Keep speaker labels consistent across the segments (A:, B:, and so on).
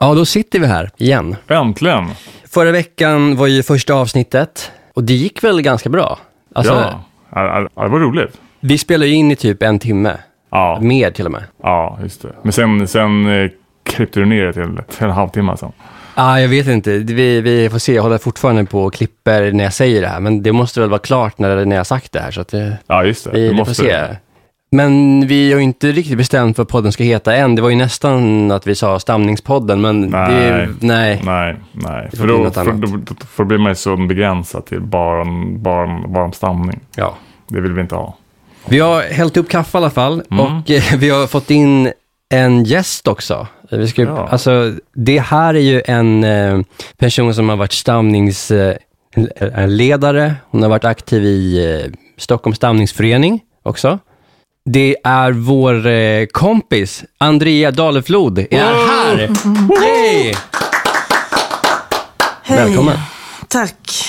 A: Ja, då sitter vi här igen.
B: Äntligen!
A: Förra veckan var ju första avsnittet och det gick väl ganska bra? Alltså,
B: ja. Ja, ja, det var roligt.
A: Vi spelade ju in i typ en timme,
B: Ja,
A: mer till och med.
B: ja just det. Men sen, sen eh, klippte du ner det till, till en halvtimme sen.
A: Ah, jag vet inte, vi, vi får se. Jag håller fortfarande på och klipper när jag säger det här, men det måste väl vara klart när, när jag har sagt det här. Så att det,
B: Ja, just det.
A: vi,
B: Du
A: vi får se. Men vi har ju inte riktigt bestämt vad podden ska heta än. Det var ju nästan att vi sa Stamningspodden, men
B: Nej.
A: det... Nej.
B: Nej, nej.
A: får
B: För
A: bli
B: då,
A: något
B: för,
A: annat.
B: då, då, för då blir man ju så begränsad till bara, en- bara, en- bara om stamning.
A: Ja.
B: Det vill vi inte ha.
A: Vi har hällt upp kaffe i alla fall och eh, vi har fått in en gäst också. Vi ska,
B: Ja.
A: alltså, det här är ju en eh, person som har varit stamningsledare. Hon har varit aktiv i eh, Stockholms stamningsförening också. Det är vår eh, kompis Andrea Daleflod är här. Hej!
C: Hej.
A: Välkommen.
C: Tack.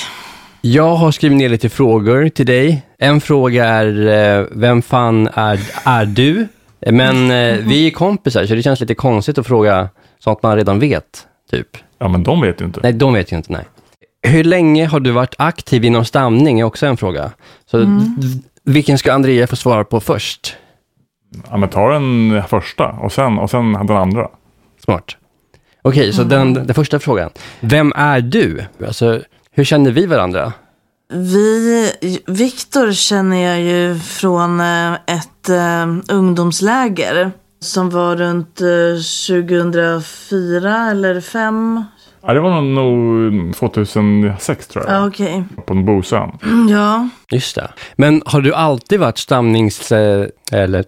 A: Jag har skrivit ner lite frågor till dig. En fråga är, eh, vem fan är, är du? Men eh, vi är kompisar, så det känns lite konstigt att fråga sånt man redan vet, typ.
B: Ja, men de vet ju inte.
A: Nej, de vet ju inte, nej. Hur länge har du varit aktiv inom stamning är också en fråga. Så v- vilken ska Andrea få svara på först?
B: Ja, men ta den första och sen, och sen den andra.
A: Smart. Okej, så den, den första frågan. Vem är du? Alltså, hur känner vi varandra?
C: Vi, Viktor känner jag ju från eh, ett eh, ungdomsläger som var runt eh, 2004 eller 5.
B: Ja, det var nog- nog 2006 tror jag.
C: Ja, okej.
B: På en Bosön.
C: Ja.
A: Just det. Men har du alltid varit stamnings... eh, Eller,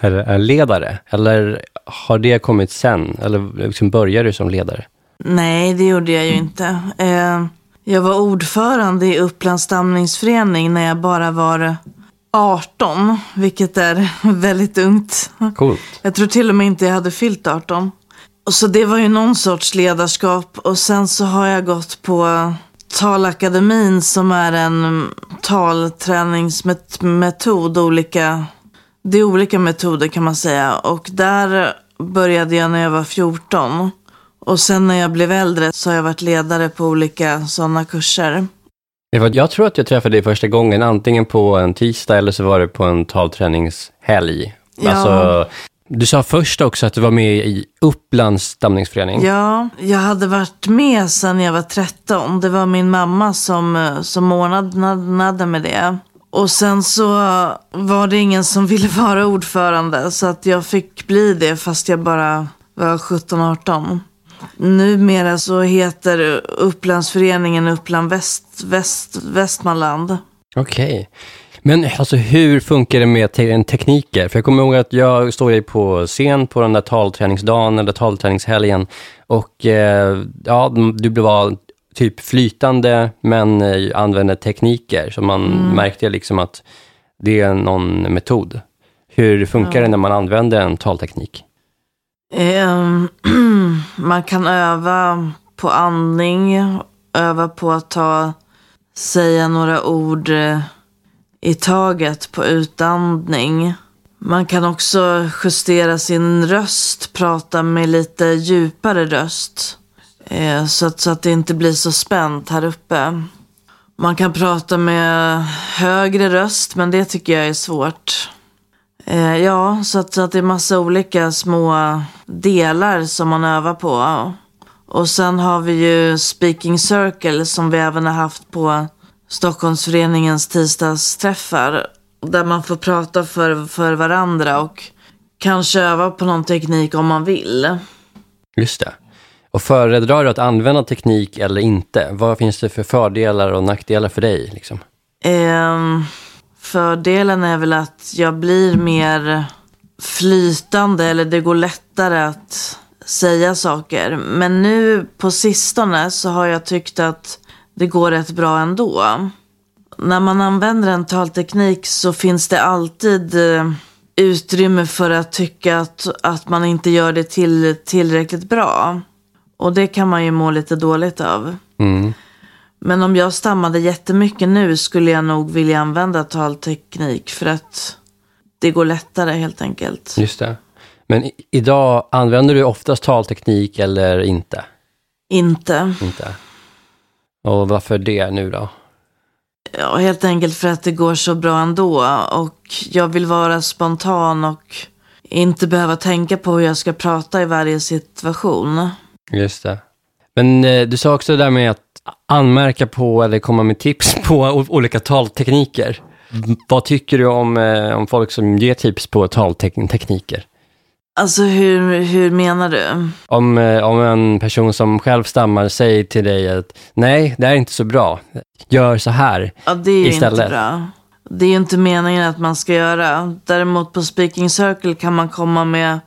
A: eller eh, ledare? Eller har det kommit sen? Eller liksom började du som ledare?
C: Nej, det gjorde jag ju inte. Eh, jag var ordförande i Upplands stamningsförening när jag bara var 18, vilket är väldigt ungt.
A: Coolt.
C: Jag tror till och med inte jag hade fyllt 18. Och så det var ju någon sorts ledarskap. Och sen så har jag gått på talakademin som är en talträningsmetod. Olika, det är olika metoder kan man säga. Och där började jag när jag var 14. Och sen när jag blev äldre så har jag varit ledare på olika sådana kurser.
A: Det var- Jag tror att jag träffade dig första gången, antingen på en tisdag eller så var det på en talträningshelg.
C: Ja.
A: Alltså, du sa först också att du var med i Upplands stamningsförening.
C: Ja, jag hade varit med sedan jag var 13. Det var min mamma som, eh, som ordnade med det. Och sen så var det ingen som ville vara ordförande så att jag fick bli det fast jag bara var 17-18. Numera så heter Upplandsföreningen Uppland Väst, Väst, Västmanland.
A: Okej. Men alltså hur funkar det med te- tekniker? För jag kommer ihåg att jag stod ju på scen på den där talträningsdagen eller talträningshelgen och eh, ja, m- du blev all- typ flytande men eh, använde tekniker. Så man märkte liksom att det är någon metod. Hur funkar det när man använder en talteknik?
C: Ehm, Man kan öva på andning, öva på att ta, säga några ord eh, i taget på utandning. Man kan också justera sin röst, prata med lite djupare röst. eh, Så att, så att det inte blir så spänt här uppe. Man kan prata med högre röst, men det tycker jag är svårt. Eh, ja, så att, så att det är massa olika små delar som man övar på. Och sen har vi ju speaking circle som vi även har haft på Stockholmsföreningens tisdagsträffar. Där man får prata för, för varandra och kanske öva på någon teknik om man vill.
A: Just det. Och föredrar du att använda teknik eller inte? Vad finns det för fördelar och nackdelar för dig? Liksom?
C: Ehm, fördelen är väl att jag blir mer flytande eller det går lättare att säga saker. Men nu på sistone så har jag tyckt att det går rätt bra ändå. När man använder en talteknik så finns det alltid eh, utrymme för att tycka att, att man inte gör det till, tillräckligt bra. Och det kan man ju må lite dåligt av.
A: Mm.
C: Men om jag stammade jättemycket nu skulle jag nog vilja använda talteknik för att det går lättare helt enkelt.
A: Just det. Men i- idag, använder du oftast talteknik eller inte?
C: Inte.
A: Inte. Och varför det nu då?
C: Ja, helt enkelt för att det går så bra ändå. Och jag vill vara spontan och inte behöva tänka på hur jag ska prata i varje situation.
A: Just det. Men eh, du sa också det där med att anmärka på eller komma med tips på o- olika taltekniker. V- Vad tycker du om, eh, om folk som ger tips på taltekniker?
C: Alltså hur, hur menar du?
A: Om, eh, om en person som själv stammar säger till dig att nej, det här är inte så bra, gör så här.
C: Ja, det är ju inte
A: Istället.
C: bra. Det är ju inte meningen att man ska göra. Däremot på speaking circle kan man komma med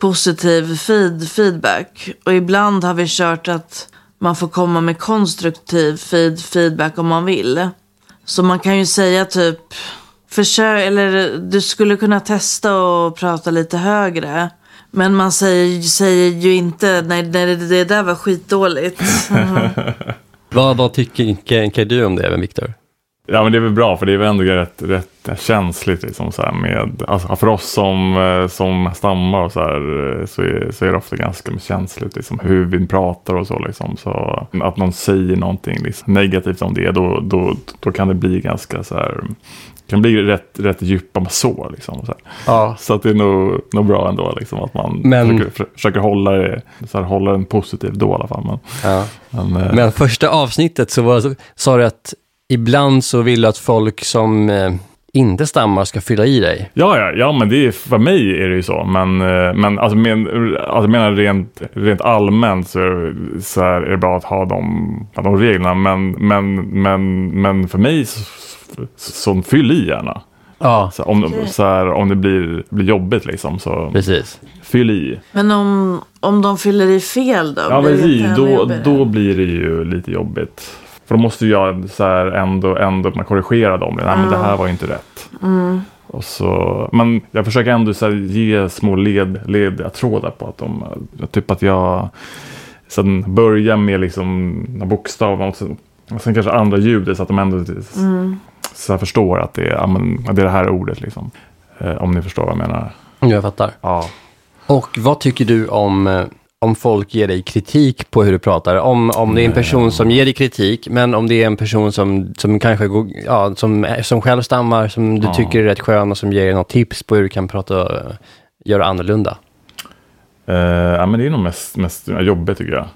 C: positiv feed, feedback. Och ibland har vi kört att man får komma med konstruktiv feed, feedback om man vill. Så man kan ju säga typ, försök, eller du skulle kunna testa och prata lite högre. Men man säger, säger ju inte, nej, nej det, det där var skitdåligt.
A: Vad, vad tycker du om det, även Viktor?
B: Ja men det är väl bra för det är väl ändå rätt, rätt känsligt liksom så här med, alltså för oss som, eh, som stammar och så här eh, så är, så är det ofta ganska känsligt liksom hur vi pratar och så liksom. Så att någon säger någonting liksom, negativt om det då, då, då kan det bli ganska så här, kan bli rätt, rätt djupa sår liksom. Så, här.
A: Ja.
B: så att det är nog, nog bra ändå liksom att man
A: Men-
B: försöker, för, försöker hålla det, så här, hålla den positiv då i alla fall. Men,
A: ja.
B: men, eh,
A: Men första avsnittet så var, sa du att ibland så vill du att folk som eh, inte stammar ska fylla i dig.
B: Ja, ja, ja, men det är, för mig är det ju så. Men, eh, men alltså, men, alltså jag menar rent, rent allmänt så är, det- så här, är det bra att ha de, ha de reglerna. Men, men, men, men för mig så, så, så fyll i gärna.
A: Ja,
B: Så, här, om, så här, om det blir, blir jobbigt liksom så
A: precis.
B: fyll i.
C: Men om, om de fyller i fel då?
B: Ja,
C: Blir det
B: precis.
C: inte ännu
B: Då,
C: jobbigare?
B: då blir det ju lite jobbigt. För då måste jag så här ändå, ändå kunna korrigera dem. Nej, men det här var ju inte rätt. Och så, men jag försöker ändå så här ge små led, ledtrådar på att de... Typ att jag sen börjar med liksom några bokstäver och sen, och sen kanske andra ljudet så att de ändå så här förstår att det är, ja, men, det, är det här ordet. Liksom. Eh, om ni förstår vad jag menar.
A: Jag fattar.
B: Ja.
A: Och vad tycker du om, eh, om folk ger dig kritik på hur du pratar? Om, om det är en person som ger dig kritik, men om det är en person som, som kanske går, ja, som, som själv stammar, som du
B: Ja.
A: tycker är rätt skön och som ger dig något tips på hur du kan prata, eh, göra annorlunda.
B: Eh, ja, men det är nog mest, mest jobbigt tycker jag.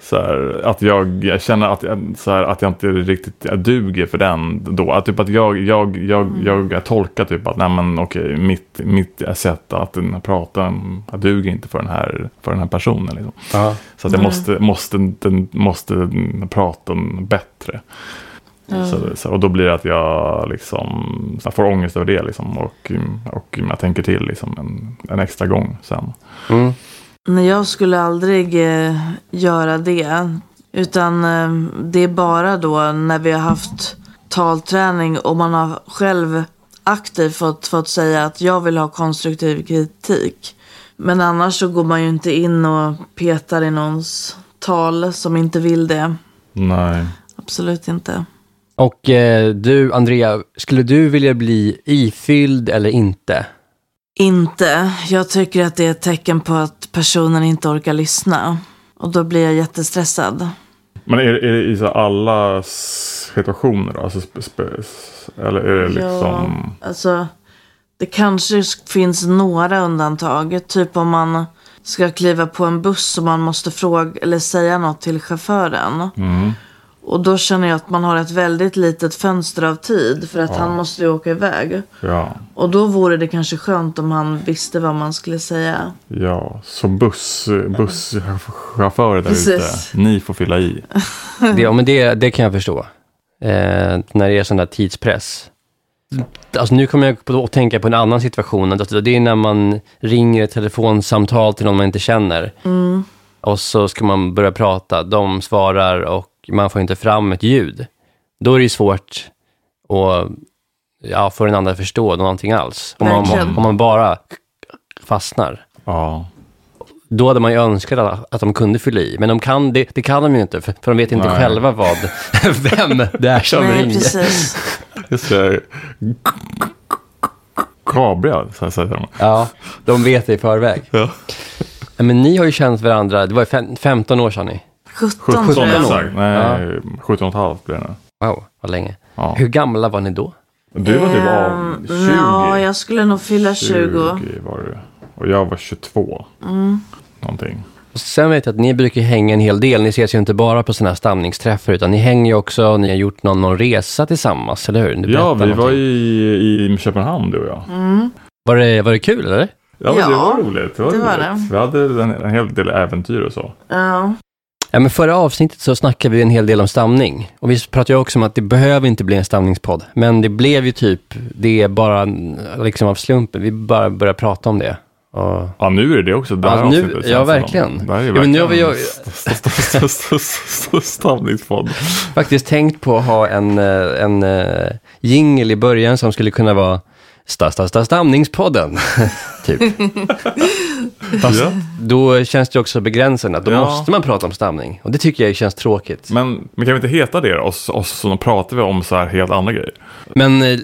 B: Så här, att jag, jag känner att, jag- så här, att jag inte riktigt jag duger för den då. Att, typ att jag, jag, jag, jag, jag tolkar typ att nej men okej, mitt, mitt sätt att prata jag duger inte för den här, för den här personen. Liksom. Så att jag måste, måste, den, måste prata bättre. Så, så, och då blir det att jag, liksom, så jag får ångest över det liksom, och, och jag tänker till liksom, en, en extra gång sen.
A: Mm.
C: Nej, jag skulle aldrig eh, göra det. Utan eh, det är bara då när vi har haft talträning och man har själv aktivt fått, fått säga att jag vill ha konstruktiv kritik. Men annars så går man ju inte in och petar i någons tal som inte vill det.
B: Nej.
C: Absolut inte.
A: Och eh, du, Andrea, skulle du vilja bli ifylld eller inte?
C: Inte. Jag tycker att det är ett tecken på att personen inte orkar lyssna. Och då blir jag jättestressad.
B: Men är, är det i så här alla situationer då? Alltså sp- sp- s- eller är det liksom...
C: Ja, alltså, det kanske sk- finns några undantag. Typ om man ska kliva på en buss och man måste fråga eller säga något till chauffören.
B: mm,
C: Och då känner jag att man har ett väldigt litet fönster av tid för att han måste ju åka iväg.
B: Ja.
C: Och då vore det kanske skönt om han visste vad man skulle säga.
B: Ja, så buss, busschaufförer där
C: Precis.
B: ute, ni får fylla i.
A: Det, ja, men det, det kan jag förstå. Eh, när det är sån där tidspress. Alltså nu kommer jag på- att tänka på en annan situation. Alltså, det är när man ringer ett telefonsamtal till någon man inte känner. Och så ska man börja prata. De svarar och man får inte fram ett ljud. Då är det ju svårt att ja, få den andra att förstå någonting alls. Om man,
C: Verkligen.
A: om man bara fastnar.
B: Ja,
A: Då hade man ju önskat att- att de kunde fylla i, men de kan, det, det kan de ju inte, för, för de vet inte
B: Nej.
A: själva vad, vem det är som
C: Nej,
A: ringer.
C: precis.
B: just det. kabriga, så här säger de.
A: Ja, de vet det i förväg.
B: Ja.
A: Nej, Men ni har ju känt varandra, det var ju fem- 15 år sedan ni.
C: 17
B: 17
C: tror jag.
A: år.
B: exakt. Nej, 17 och ett halvt blir det nu.
A: Wow, vad länge.
B: Ja.
A: Hur gamla var ni då?
B: Du var typ av
C: Ehm,
B: 20.
C: Ja, jag skulle nog fylla 20.
B: 20 var du. Och jag var 22.
C: Mm.
B: Någonting.
A: Och sen vet jag att ni brukar ju hänga en hel del. Ni ses ju inte bara på sådana här stamningsträffar, utan ni hänger ju också och ni har gjort någon, någon resa tillsammans, eller hur? Ni
B: Ja,
A: berättar
B: vi var
A: någonting.
B: i, i Köpenhamn du och jag.
A: Var det, var det kul, eller?
B: Ja, men det
C: Ja,
B: var roligt. Det var
C: det var
B: roligt. Vi hade en, en hel del äventyr och så.
C: Ja.
A: Ja, men förra avsnittet så snackade vi en hel del om stamning. Och vi pratade ju också om att det behöver inte bli en stamningspodd. Men det blev ju typ, det är bara en- liksom av slumpen. Vi bara började prata om det. Och...
B: Ja, nu är det det också. Det här
A: Ja, nu-
B: avsnittet känns
A: ja,
B: som-
A: verkligen.
B: Det här är ju
A: Ja, men nu har vi
B: verkligen
A: ju-
B: en stamningspodd.
A: Faktiskt tänkt på att ha en, eh, en eh, jingle i början som skulle kunna vara sta, sta, sta, stamningspodden. typ. Fast
B: Ja.
A: då känns det också begränsande. Då
B: Ja.
A: måste man prata om stamning. Och det tycker jag känns tråkigt.
B: Men, men kan vi inte heta det då? Och så- och så pratar vi om så här helt andra grejer.
A: Men eh,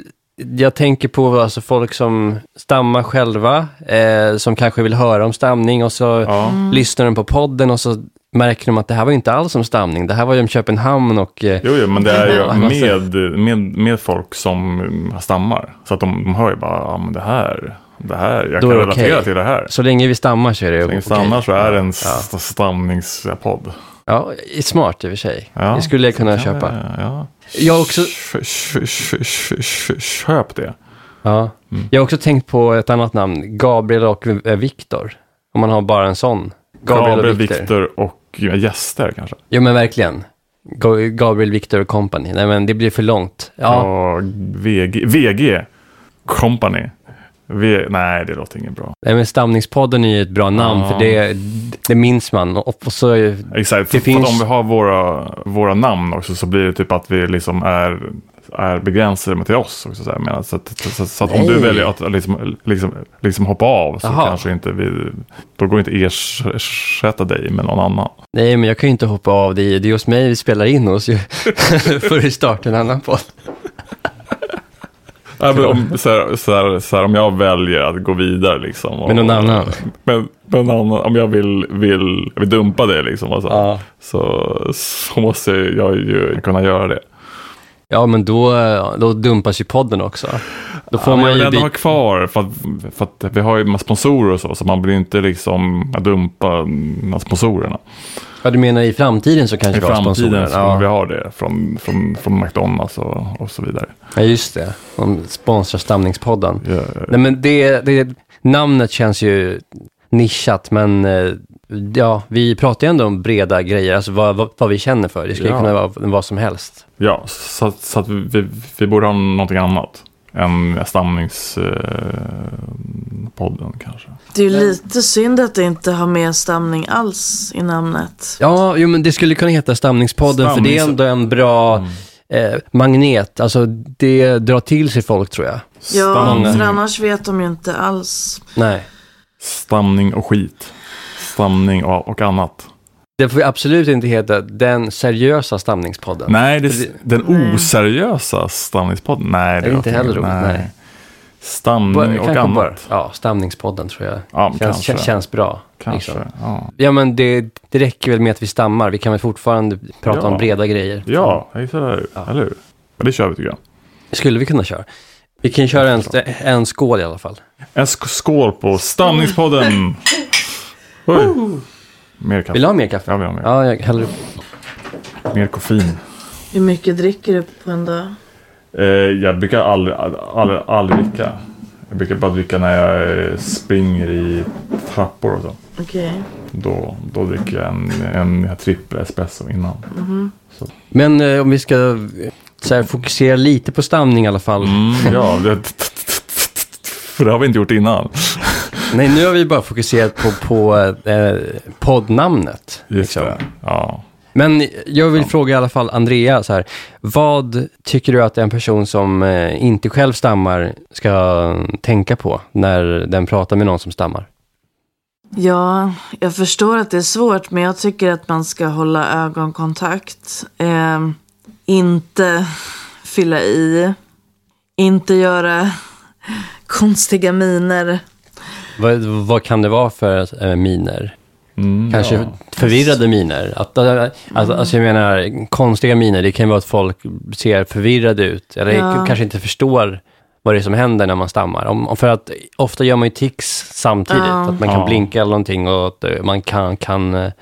A: jag tänker på alltså, folk som stammar själva, eh, som kanske vill höra om stamning och så
B: Ja.
A: lyssnar de på podden och så märker de att det här var ju inte alls om stamning. Det här var ju om Köpenhamn och... Eh,
B: Jo, jo, men det är
A: Ja,
B: ju
A: man ser-
B: med, med, med folk som mm, stammar. Så att de, de hör ju bara, ja men det här, det här,
A: Då
B: jag kan
A: är det
B: relatera
A: okej.
B: till det här.
A: så länge vi stammar så är det
B: Så länge
A: okej.
B: stannar så är det en st- stamningspodd.
A: Ja, smart i och för sig.
B: Ja.
A: Det skulle jag kunna
B: Kan
A: köpa.
B: det- Ja.
A: Jag har också-
B: Sh- sh- sh- sh- sh- Köp det.
A: Ja. Jag har också tänkt på ett annat namn, Gabriel och eh, Viktor. Om man har bara en sån. Gabriel,
B: Gabriel,
A: och Viktor.
B: Viktor och gäster kanske.
A: Jo men verkligen. Ga- Gabriel, Viktor och company. Nej men det blir för långt. Ja,
B: Och VG, VG Company. V, nej, det låter inget bra.
A: Nej, men Stamningspodden är ju ett bra namn,
B: Ja.
A: för det, det minns man. Och och så, är ju-
B: Exakt,
A: Det
B: för, för
A: finns-
B: att om vi har våra, våra namn också så blir det typ att vi liksom är, är begränsade till oss också. Så, här. Men, så, att- så, så, så att om du
A: Nej.
B: väljer att liksom, liksom, liksom hoppa av så
A: Jaha.
B: kanske inte vi, då går inte ersätta dig med någon annan.
A: nej, men jag kan ju inte hoppa av. Det är det är hos mig vi spelar in oss ju. för att starta en annan podd.
B: Ja, men om, så här, så här, så här, om jag väljer att gå vidare liksom. Och,
A: Med någon annan.
B: Men, men annan, om jag vill, vill, vill dumpa det liksom. Och så,
A: Ja.
B: så, så måste jag ju kunna göra det.
A: Ja, men då, eh, då dumpas ju podden också. Då får
B: Ja, men
A: man
B: jag vill
A: ju...
B: ändå
A: byta-
B: ha kvar för att, för att vi har ju massa sponsorer och så. Så man blir inte liksom att dumpa de här sponsorerna.
A: Ja, du menar i framtiden så kanske
B: I
A: vi har sponsorer?
B: framtiden så kommer vi
A: Ja.
B: ha det från, från, från McDonalds och, och så vidare.
A: ja, just det. De sponsrar Stamningspodden.
B: Ja,
A: Nej, men det, det, namnet känns ju nischat, men eh, ja, vi pratar ju ändå om breda grejer, alltså vad, vad, vad vi känner för. Det skulle ju
B: Ja.
A: kunna vara vad som helst.
B: Ja, så, att- så att vi, vi, vi borde ha någonting annat än stamningspodden kanske.
C: Det är ju lite synd att det inte har med stamning alls i namnet.
A: Ja, jo, men det skulle kunna heta Stamningspodden, för det är
B: Stamnings-
A: ändå en bra
B: Mm.
A: eh, magnet. Alltså, det drar till sig folk, tror jag.
C: Ja,
B: Stamning.
C: för annars vet de ju inte alls.
A: Nej.
B: Stamning och skit. Stamning och, och annat.
A: Det får ju absolut inte heta den seriösa Stamningspodden.
B: Nej, det, den oseriösa stamningspodden. Nej, det
A: är inte
B: låter
A: heller
B: inget.
A: roligt, nej.
B: Stamning
A: Bara-
B: och
A: kanske
B: annat.
A: bara- ja, Stamningspodden tror jag.
B: Ja,
A: känns,
B: kanske.
A: känns bra.
B: Kanske.
A: liksom.
B: Ja.
A: Ja, men det, det räcker väl med att vi stammar. Vi kan väl fortfarande prata
B: Ja.
A: om breda grejer.
B: ja, det är så där, eller hur? Ja, det kör vi tycker jag.
A: Skulle vi kunna köra? Vi kan köra en, en skål i alla fall.
B: En sk- skål på stamningspodden! Oj. Mer
A: Vill du
B: kaffe.
A: ha mer kaffe?
B: Ja, vi har mer.
A: Ja, jag häller upp.
B: Mer koffein.
C: Hur mycket dricker du på en dag?
B: Eh, jag brukar aldrig, aldrig, aldrig dricka. Jag brukar bara dricka när jag eh, springer i trappor och så.
C: Okej.
B: Då, då dricker jag en, en trippel espresso innan.
A: Men eh, om vi ska eh, så här, fokusera lite på stamning i alla fall.
B: Mm, ja, det, för det har vi inte gjort innan.
A: Nej, nu har vi bara fokuserat på, på eh, poddnamnet.
B: Just
A: liksom.
B: det. Ja.
A: Men jag vill fråga i alla fall Andrea, så här, vad tycker du att en person som eh, inte själv stammar ska tänka på när den pratar med någon som stammar?
C: Ja, jag förstår att det är svårt, men jag tycker att man ska hålla ögonkontakt. Eh, inte fylla i. Inte göra konstiga miner.
A: Vad, vad kan det vara för eh, miner?
B: Mm,
A: Kanske
B: ja.
A: förvirrade miner. Att, att, alltså, alltså jag menar, konstiga miner, det kan ju vara att folk ser förvirrade ut. Eller
C: Ja.
A: kanske inte förstår vad det är som händer när man stammar. Om, om- för att ofta gör man ju tics samtidigt.
C: Ja.
A: Att man kan
B: Ja.
A: blinka eller någonting och att eh, man kan, kan eh,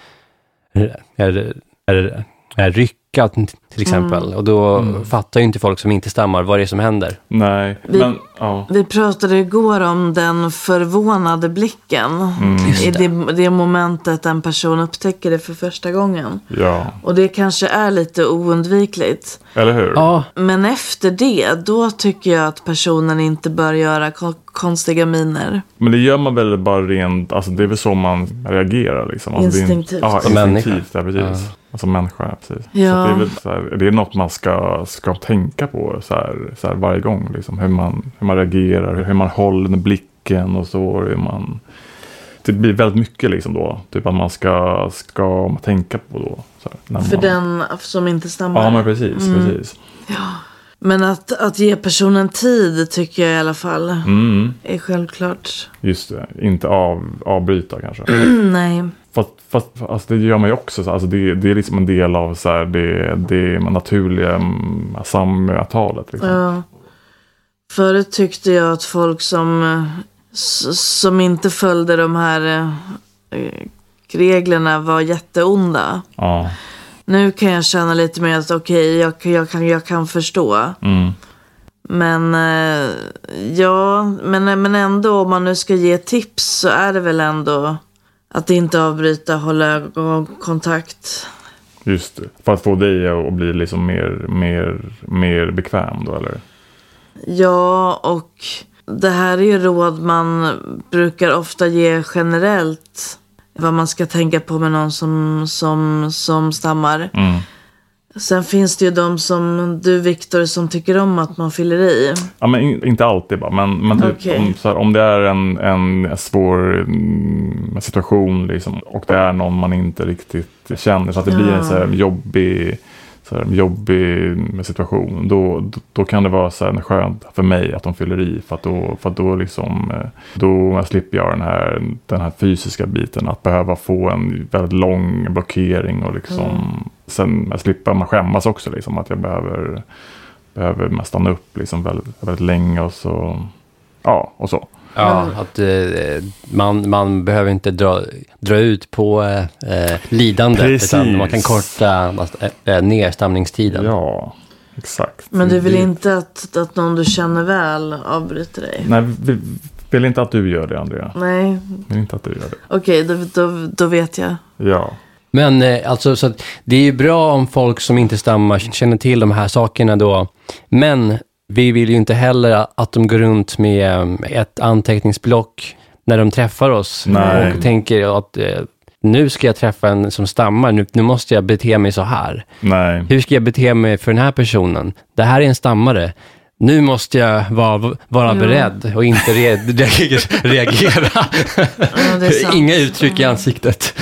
A: är, är, är rycka t- till exempel.
C: Mm.
A: Och då
B: Mm.
A: fattar ju inte folk som inte stammar vad det är som händer.
B: Nej,
C: Vi-
B: men ja.
C: Vi pratade igår om den förvånade blicken.
B: Mm.
C: I det, det momentet en person upptäcker det för första gången.
B: ja.
C: Och det kanske är lite oundvikligt.
B: Eller hur?
A: Ja,
C: Men efter det, då tycker jag att personen inte bör göra ko- konstiga miner.
B: Men det gör man väl bara rent, alltså det är väl så man reagerar liksom. Alltså, det är en-
C: Instinktivt.
B: Ja,
A: Som
B: instinktivt, ja precis. Som människa, precis.
C: Ja.
B: Så att det, är väl så här, det är något man ska, ska tänka på så här, så här varje gång. Liksom. Hur, man, hur man reagerar, hur man håller med blicken och så. och Hur man, det blir väldigt mycket liksom då. Typ att man ska, ska tänka på då. Så här, när
C: För
B: man,
C: den som inte stammar.
B: Ja, men precis.
C: Mm.
B: precis.
C: Men att, att ge personen tid tycker jag i alla fall
B: Mm,
C: är självklart.
B: just det, inte av, avbryta kanske.
C: Nej.
B: Fast, fast alltså det gör man ju också. Så, alltså det, det är liksom en del av så här, det, det naturliga mm, samtalet. Liksom.
C: Ja. Förut tyckte jag att folk som, eh, s- som inte följde de här eh, reglerna var jätteonda.
B: Ja.
C: Nu kan jag känna lite mer att okej, jag, kan- jag, kan, jag kan förstå.
B: Mm.
C: Men eh, ja, men, men ändå om man nu ska ge tips så är det väl ändå att inte avbryta, hålla ögonkontakt.
B: Just det. För att få dig att bli liksom mer, mer, mer bekväm då eller?
C: Ja, och det här är ju råd man brukar ofta ge generellt. Vad man ska tänka på med någon som, som, som stammar.
B: Mm.
C: Sen finns det ju de som du Viktor som tycker om att man fyller i.
B: Ja, men in, inte alltid bara, men, men typ,
C: Okej.
B: om, så här, om det är en, en svår mm, situation liksom, och det är någon man inte riktigt känner så att det blir en så här, jobbig, så här, jobbig mm, situation. Då, då, då kan det vara så här, skönt för mig att de fyller i för att då, för att då, liksom, eh, då slipper jag den här, den här fysiska biten. Att behöva få en väldigt lång blockering och liksom,
C: Mm.
B: sen slipper man skämmas också. Liksom, att jag behöver behöver man stanna upp liksom väldigt, väldigt länge och så. Ja, och så.
A: Ja, att eh, man, man behöver inte dra, dra ut på eh, eh, lidandet,
B: Precis.
A: utan man kan korta eh, eh, ner stamningstiden.
B: Ja, exakt.
C: Men du vill
B: Vi-
C: inte att, att någon du känner väl avbryter dig?
B: Nej, vi vill inte att du gör det, Andrea.
C: Nej,
B: Vill inte att du gör det.
C: okej, då, då, då vet jag.
B: Ja,
A: Men eh, alltså, så att det är ju bra om folk som inte stammar känner till de här sakerna då. Men vi vill ju inte heller att de går runt med eh, ett anteckningsblock när de träffar oss.
B: Nej.
A: Och tänker att eh, nu ska jag träffa en som stammar, nu, nu måste jag bete mig så här.
B: nej.
A: Hur ska jag bete mig för den här personen? Det här är en stammare. Nu måste jag vara, vara beredd och inte re, reager- reagera.
C: Ja, det är sant.
A: Inga uttryck i ansiktet.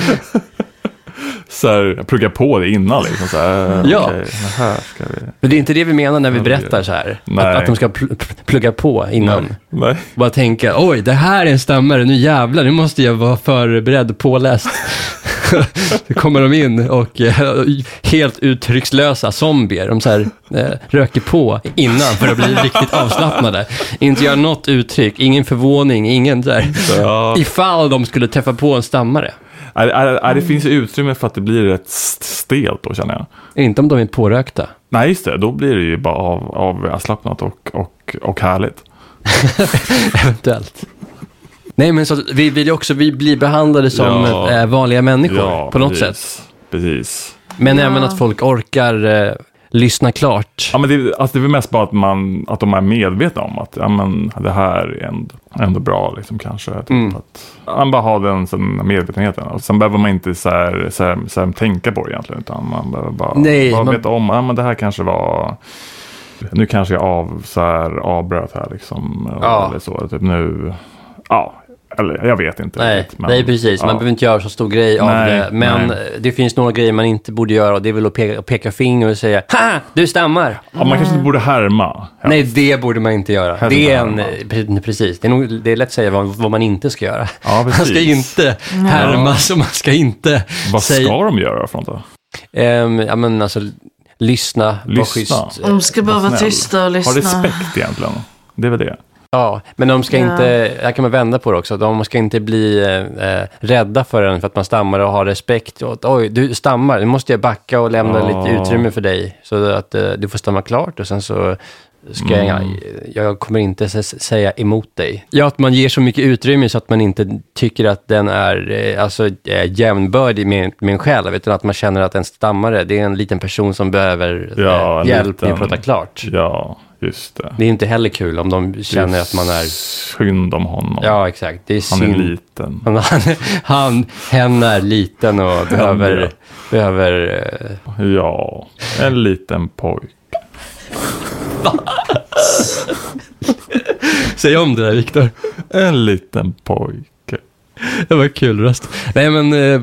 B: Så här, plugga på det innan liksom. Så här,
A: Ja.
B: okej, men här ska vi.
A: Men det är inte det vi menar när vi berättar så här. Att,
B: Nej.
A: att de ska pl- pl- plugga på innan.
B: Nej.
A: Bara tänka, oj, det här är en stammare, nu jävlar, nu måste jag vara förberedd och påläst. Då kommer de in och eh, helt uttryckslösa zombier, de så här, eh, röker på innan för att bli riktigt avslappnade. Inte göra något uttryck, ingen förvåning, ingen där.
B: Ja.
A: Ifall de skulle träffa på en stammare.
B: Är, är, är, det finns ju utrymme för att det blir rätt st- stelt då känner jag.
A: Inte om de är pårökta.
B: Nej, just det. Då blir det ju bara av, avslappnat och, och, och härligt.
A: Eventuellt. Nej, men så att vi vill ju också vi blir behandlade som
B: Ja.
A: eh, vanliga människor på något sätt.
B: sätt. Precis.
A: Men
C: Ja.
A: även att folk orkar eh, lyssna klart.
B: Ja, men det, alltså det är väl mest bara att, man, att de är medvetna om att ja, men det här är ändå, ändå bra. Liksom, kanske. Typ,
A: Mm.
B: att, man bara har den sen, medvetenheten. Och sen behöver man inte så här, så här, så här, tänka på det egentligen. Utan man behöver bara,
A: Nej,
B: bara
A: man-
B: veta om ja, men det här kanske var... Nu kanske jag av, så här, avbröt här. Liksom,
A: Ja.
B: Eller så, typ, nu, ja, Eller jag vet inte.
A: Nej,
B: riktigt, men-
A: nej, precis. Man
B: ja.
A: behöver inte göra så stor grej av
B: Nej,
A: det. Men
B: nej.
A: det finns några grejer man inte borde göra och det är väl att peka, peka finger och säga Ha! Du stammar!
B: ja, man kanske inte borde härma. Ja.
A: Nej, det borde man inte göra.
B: Helst
A: det är en, eh,
B: inte
A: pre- precis, det är, nog, det är lätt att säga vad, vad man inte ska göra.
B: Ja,
A: man
B: precis.
A: ska inte härma, så man ska inte
B: Vad
A: säga-
B: ska de göra för något då?
A: Ehm, ja, men alltså, lyssna,
B: Lyssna.
A: var schysst.
C: De ska bara vara
B: snäll.
C: tysta och
B: Ha
C: lyssna.
B: respekt egentligen. Det är väl det.
A: Ja, men de ska
C: Ja.
A: inte, här kan man vända på det också, de ska inte bli eh, eh, rädda för en för att man stammar och har respekt. Och, att, Oj, du stammar, nu måste jag backa och lämna
B: Ja.
A: lite utrymme för dig så att eh, du får stamma klart och sen så ska jag, jag kommer inte s- säga emot dig. Mm. Ja, att man ger så mycket utrymme så att man inte tycker att den är eh, alltså, eh, jämnbördig med, med en själv, utan att man känner att en stammare, det är en liten person som behöver
B: Ja,
A: eh,
B: en
A: hjälp med
B: liten-
A: att prata klart.
B: Ja, just det.
A: Det är inte heller kul om de känner att man är
B: Synd om honom.
A: Ja, exakt. Det är
B: Han är
A: synd.
B: liten.
A: Han, han, han, hen är liten och behöver...
B: ja.
A: behöver eh,
B: Ja, en liten pojk.
A: Säg om det där, Viktor.
B: En liten pojke.
A: Det var en kul röst. Nej, men... eh,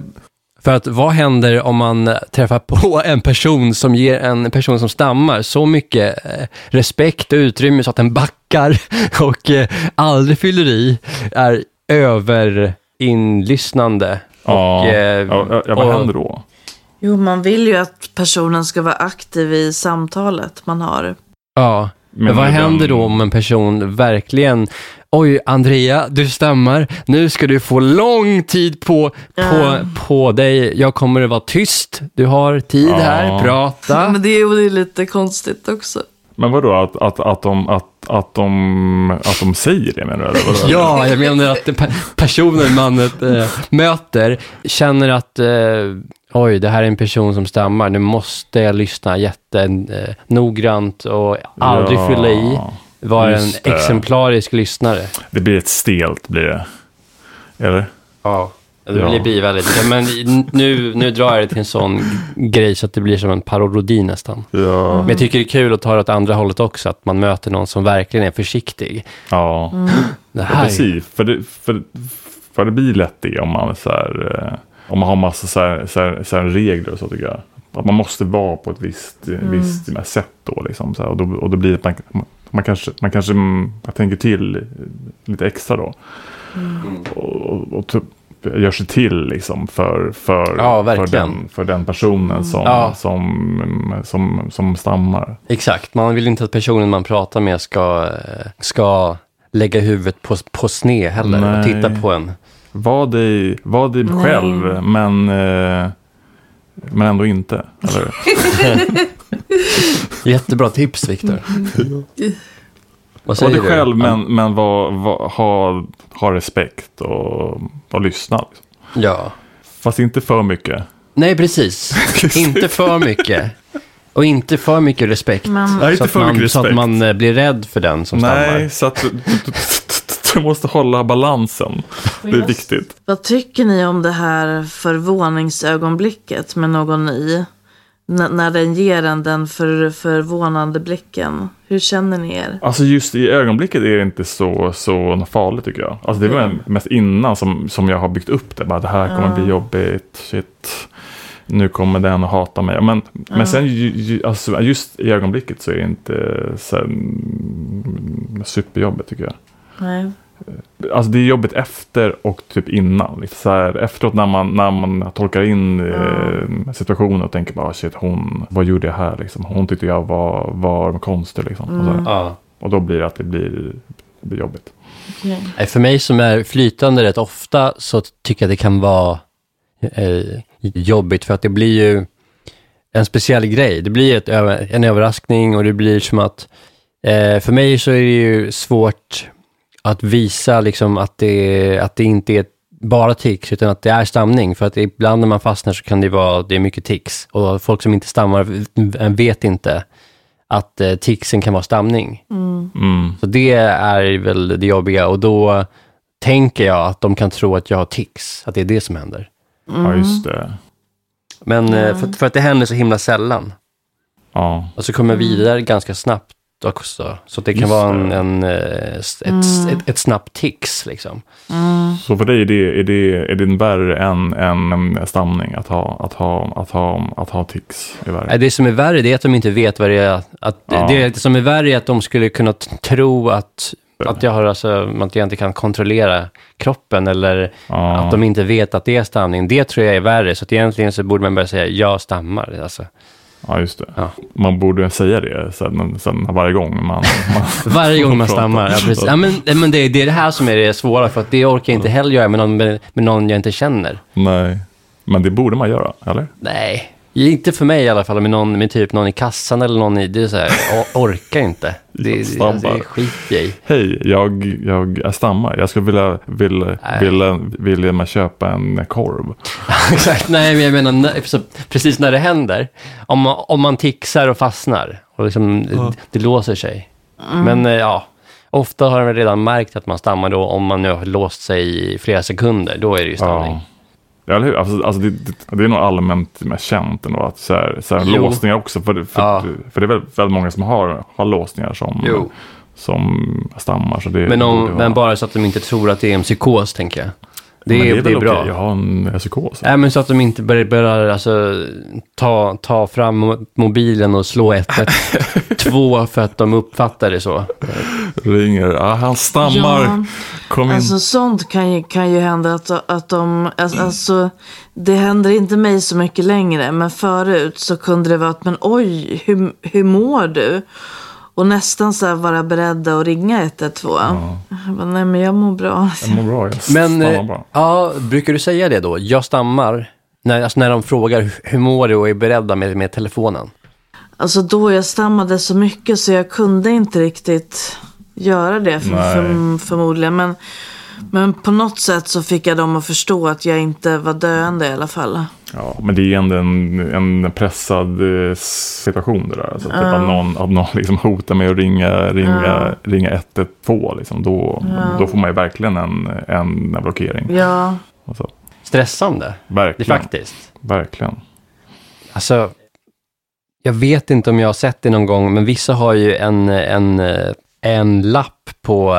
A: För att vad händer om man träffar på en person som ger en person som stammar så mycket eh, respekt och utrymme så att den backar och eh, aldrig fyller i, är överinlyssnande.
B: Ja,
A: Och, eh,
B: ja, ja, ja, vad
A: och-
B: händer då?
C: Jo, man vill ju att personen ska vara aktiv i samtalet man har.
A: Ja,
B: Menar
A: Men vad
B: du den-
A: händer då om en person verkligen, oj Andrea, du stammar, nu ska du få lång tid på, på,
C: Ja.
A: på dig, jag kommer att vara tyst, du har tid
B: Ja.
A: här, prata.
C: Men det är ju lite konstigt också.
B: Men vadå, att, att, att, de, att, att, de, att de säger det menar du? eller vadå?
A: Ja, jag menar att pe- personen man eh, möter känner att eh, oj, det här är en person som stammar, nu måste jag lyssna jättenoggrant och aldrig
B: Ja,
A: fylla i, vara en
B: just det.
A: exemplarisk lyssnare.
B: Det blir ett stelt, blir det. Eller?
A: Ja, det
B: Ja.
A: blir bivärdigt. Ja, men nu, nu drar jag det till en sån grej så att det blir som en parodi nästan.
B: Ja.
A: Men jag tycker det är kul att ta det åt andra hållet också, att man möter någon som verkligen är försiktig.
B: ja.
A: Det
B: Ja,
A: här,
B: precis, för det, för, för det blir lätt det om man, så här, eh, om man har massa så här, så här, så här regler och så tycker jag. Att man måste vara på ett visst, eh, visst sätt då. Liksom, så här, och då. Och då blir det att man, man kanske, man kanske mm, jag tänker till lite extra då. Och, och, och typ gör sig till liksom för, för,
A: Ja,
B: för,
A: verkligen.
B: den, för den personen som,
A: Ja.
B: som, mm, som, som stammar.
A: exakt, man vill inte att personen man pratar med ska, eh, ska lägga huvudet på, på sne heller och
B: Nej.
A: titta på en.
B: Var dig, var dig
C: Nej.
B: själv, men, eh, men ändå inte. Eller?
A: Jättebra tips, Viktor. Vad
B: Var
A: säger
B: dig
A: du?
B: själv, men, men var, var, ha, ha respekt och, och lyssna. liksom.
A: Ja.
B: Fast inte för mycket.
A: Nej, precis. inte för mycket. Och inte för mycket respekt.
C: Men-
B: Nej, inte
A: så, att
B: för
A: man,
B: mycket
A: så att
B: respekt.
A: man eh, blir rädd för den som
B: Nej,
A: stammar.
B: så att du, du, du, du måste hålla balansen. Det är viktigt.
C: Vad tycker ni om det här förvåningsögonblicket med någon ny? N- när den ger en den för- förvånande blicken. Hur känner ni er?
B: Alltså just i ögonblicket är det inte så, så farligt tycker jag. Alltså det var mest innan som, som jag har byggt upp det. Bara, det här kommer bli jobbigt. Shit. Nu kommer den att hata mig. Men, men sen ju, ju, alltså, just i ögonblicket så är det inte så här, mm, superjobbigt tycker jag.
C: Nej.
B: Alltså det är jobbigt efter och typ innan. Lite Så här, efteråt när man, när man tolkar in eh, situationen och tänker bara shit hon, vad gjorde jag här liksom? Hon tyckte jag var, var konstig liksom. Och, så här.
A: Ja.
B: och då blir det att det blir, det blir jobbigt.
A: Nej, För mig som är flytande rätt ofta så tycker jag det kan vara eh, jobbigt för att det blir ju en speciell grej. Det blir ett, ö- en överraskning och det blir som att eh, för mig så är det ju svårt att visa liksom att det, att det inte är ett- bara tics utan att det är stamning. För att ibland när man fastnar så kan det vara det är mycket tics och folk som inte stammar vet inte att eh, ticsen kan vara stamning.
B: Mm.
A: Så det är väl det jobbiga och då tänker jag att de kan tro att jag har tics, att det är det som händer.
B: Ja just det.
A: Men eh, för, för att det händer så himla sällan.
B: Ja.
A: Och så kommer jag vidare ganska snabbt också. Så att det kan
B: Mm. Just
A: vara en,
B: det. Mm.
A: en, eh, s- ett, ett, ett snabbt tics liksom.
B: Så för dig är det, är det, är det värre än, än stamning att ha, att ha, att ha, att ha tics? Är värre.
A: Nej, Det som är värre det är att de inte vet vad det är. Att,
B: Ja.
A: Det som är värre är att de skulle kunna t- tro att, att, jag har, alltså, att jag inte kan kontrollera kroppen eller
B: Ja.
A: att de inte vet att det är stamning. Det tror jag är värre. Så att egentligen så borde man börja säga jag stammar. Alltså.
B: Ja, just det.
A: Ja.
B: Man borde säga det sen, sen varje gång man... man
A: Varje gång man
B: pratar.
A: stammar. Ja, precis. Ja, men, men det, är- det är det här som är det svåra, för att det orkar jag inte heller göra med någon, med, med någon jag inte känner.
B: Nej, men det borde man göra, eller?
A: Nej. Inte för mig i alla fall, med, någon, med typ någon i kassan eller någon i... Det är så här, o- orkar inte. Det, det,
B: Stammar.
A: alltså, det skiter jag i.
B: Hej, jag, jag, jag stammar. Jag skulle vilja, vill,
A: Nej.
B: vill, vill man köpa en korv.
A: Exakt, nej men jag menar när- så, precis när det händer. Om man, om man tixar och fastnar och liksom, det, det låser sig. Men eh, ja, ofta har man redan märkt att man stammar då om man nu har låst sig i flera sekunder. Då är det ju stamning.
B: Ja, eller hur? Alltså, alltså det, det, det är nog allmänt med känt ändå att så här, så här,
A: Jo.
B: låsningar också. För, för,
A: Ja.
B: för det är väl, väldigt många som har, har låsningar som,
A: Jo.
B: som stammar. Så det
A: Men,
B: borde
A: om,
B: vara-
A: men bara så att de inte tror att det är en psykos, tänker jag. Det,
B: Men
A: är, det, är,
B: väl
A: bra.
B: okej, Jag har en psykos.
A: Nej, men så att de inte börjar, börjar alltså, ta, ta fram mo- mobilen och slå 112 för att de uppfattar det så.
B: Ringer. Ah, han stammar.
C: Ja,
B: Kom in.
C: Alltså sånt kan ju, kan ju hända att, att de, alltså, alltså det händer inte mig så mycket längre men förut så kunde det vara att men oj hur, hur mår du? Och nästan så här vara beredda att ringa 112. Jag bara, nej men jag mår bra.
B: Jag mår bra. Jag
A: Men,
B: stammar
A: eh,
B: bra.
A: ja, brukar du säga det då? Jag stammar. När, alltså när de frågar "Hur- hur mår du och är beredda med, med telefonen.
C: Alltså då jag stammade så mycket så jag kunde inte riktigt göra det för,
B: Nej.
C: för, förmodligen. Men, men på något sätt så fick jag dem att förstå att jag inte var döende i alla fall.
B: Ja, men det är ändå en, en pressad eh, situation det där. Alltså, typ att någon, att någon liksom hotar med att ringa, ringa, ringa 112. Liksom. Då, då får man ju verkligen en, en blockering.
C: Ja,
B: Alltså,
A: Stressande, det är
B: verkligen.
A: faktiskt.
B: verkligen.
A: Alltså, jag vet inte om jag har sett det någon gång, men vissa har ju en, en, eh, en lapp på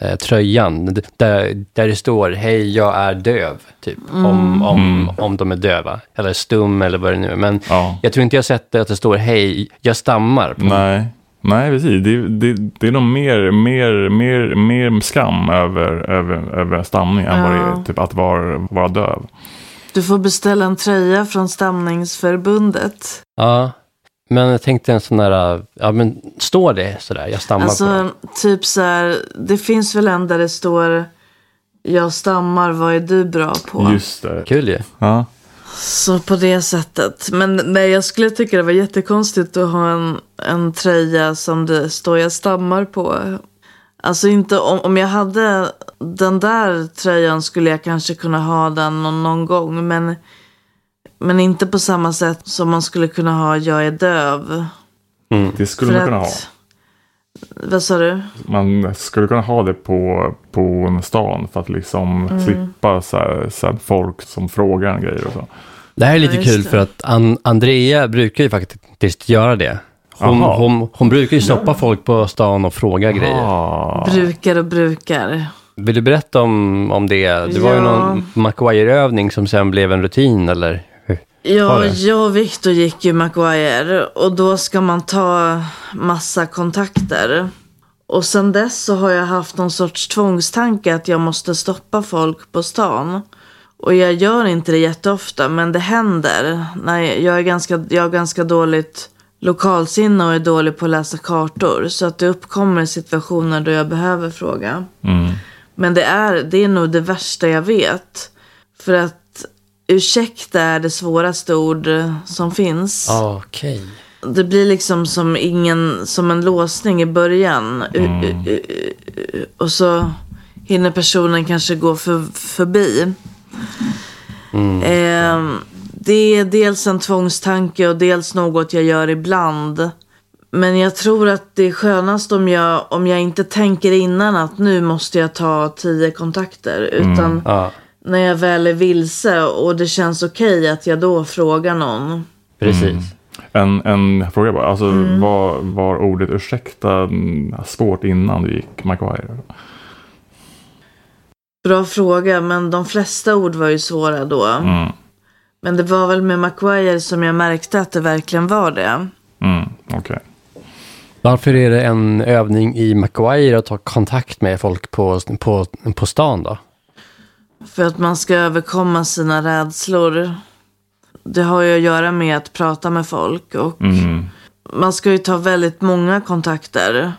A: eh, tröjan d- där, där det står hej, jag är döv, typ. Om, om,
B: Mm.
A: om de är döva, eller stum eller vad det nu är. Men
B: Ja.
A: jag tror inte jag har sett det att det står hej, jag stammar. På
B: Nej. Nej, precis. Det, det, det är nog mer, mer, mer, mer skam över, över, över stamning än vad det är typ, att vara, vara döv.
C: Du får beställa en tröja från Stamningsförbundet.
A: Ja, men jag tänkte en sån där, ja men står det sådär, jag stammar på den.
C: Alltså, typ så här, det finns väl en där det står jag stammar, vad är du bra på?
B: Just det.
A: Kul ju.
B: Ja.
C: Så på det sättet. Men nej, jag skulle tycka det var jättekonstigt att ha en, en tröja som det står jag stammar på. Alltså inte om, om jag hade den där tröjan skulle jag kanske kunna ha den någon, någon gång. Men, men inte på samma sätt som man skulle kunna ha jag är döv.
B: Det skulle man kunna ha.
C: Vad sa du?
B: Man skulle kunna ha det på, på stan för att liksom slippa så här, så här folk som frågar en grejer och så.
A: Det här är lite
C: Ja, just
A: kul
C: det.
A: för att An- Andrea brukar ju faktiskt göra det. Hon,
B: Jaha.
A: hon, hon brukar ju stoppa folk på stan och fråga grejer.
B: Ah,
C: Brukar och brukar.
A: Vill du berätta om, om det? Det var ju
C: Ja.
A: någon Maguire-övning som sen blev en rutin, eller? hur? Var
C: Ja,
A: det?
C: jag och Victor gick ju Maguire och då ska man ta massa kontakter. Och sen dess så har jag haft någon sorts tvångstanke att jag måste stoppa folk på stan. Och jag gör inte det jätteofta, men det händer. Nej, jag, är ganska, jag har ganska dåligt lokalsinne och är dålig på att läsa kartor. Så att det uppkommer situationer då jag behöver fråga. Men det är, det är nog det värsta jag vet. För att ursäkta är det svåraste ord som finns.
A: Ah, Okej.
C: Det blir liksom som, ingen, som en låsning i början. U- u- u- u- Och så hinner personen kanske gå för, förbi. Eh, det är dels en tvångstanke och dels något jag gör ibland. Men jag tror att det är skönast om jag, om jag inte tänker innan att nu måste jag ta tio kontakter. Utan
A: Ja,
C: när jag väl är vilse och det känns okej att jag då frågar någon.
A: precis.
B: En, en fråga bara. Alltså, var, var ordet ursäkta svårt innan du gick Maguire?
C: Bra fråga, men de flesta ord var ju svåra då.
B: Mm.
C: Men det var väl med Maguire som jag märkte att det verkligen var det.
B: Mm. Okej.
A: Varför är det en övning i Maguire att ta kontakt med folk på, på, på stan då?
C: För att man ska överkomma sina rädslor. Det har ju att göra med att prata med folk. Och
B: Mm.
C: Man ska ju ta väldigt många kontakter.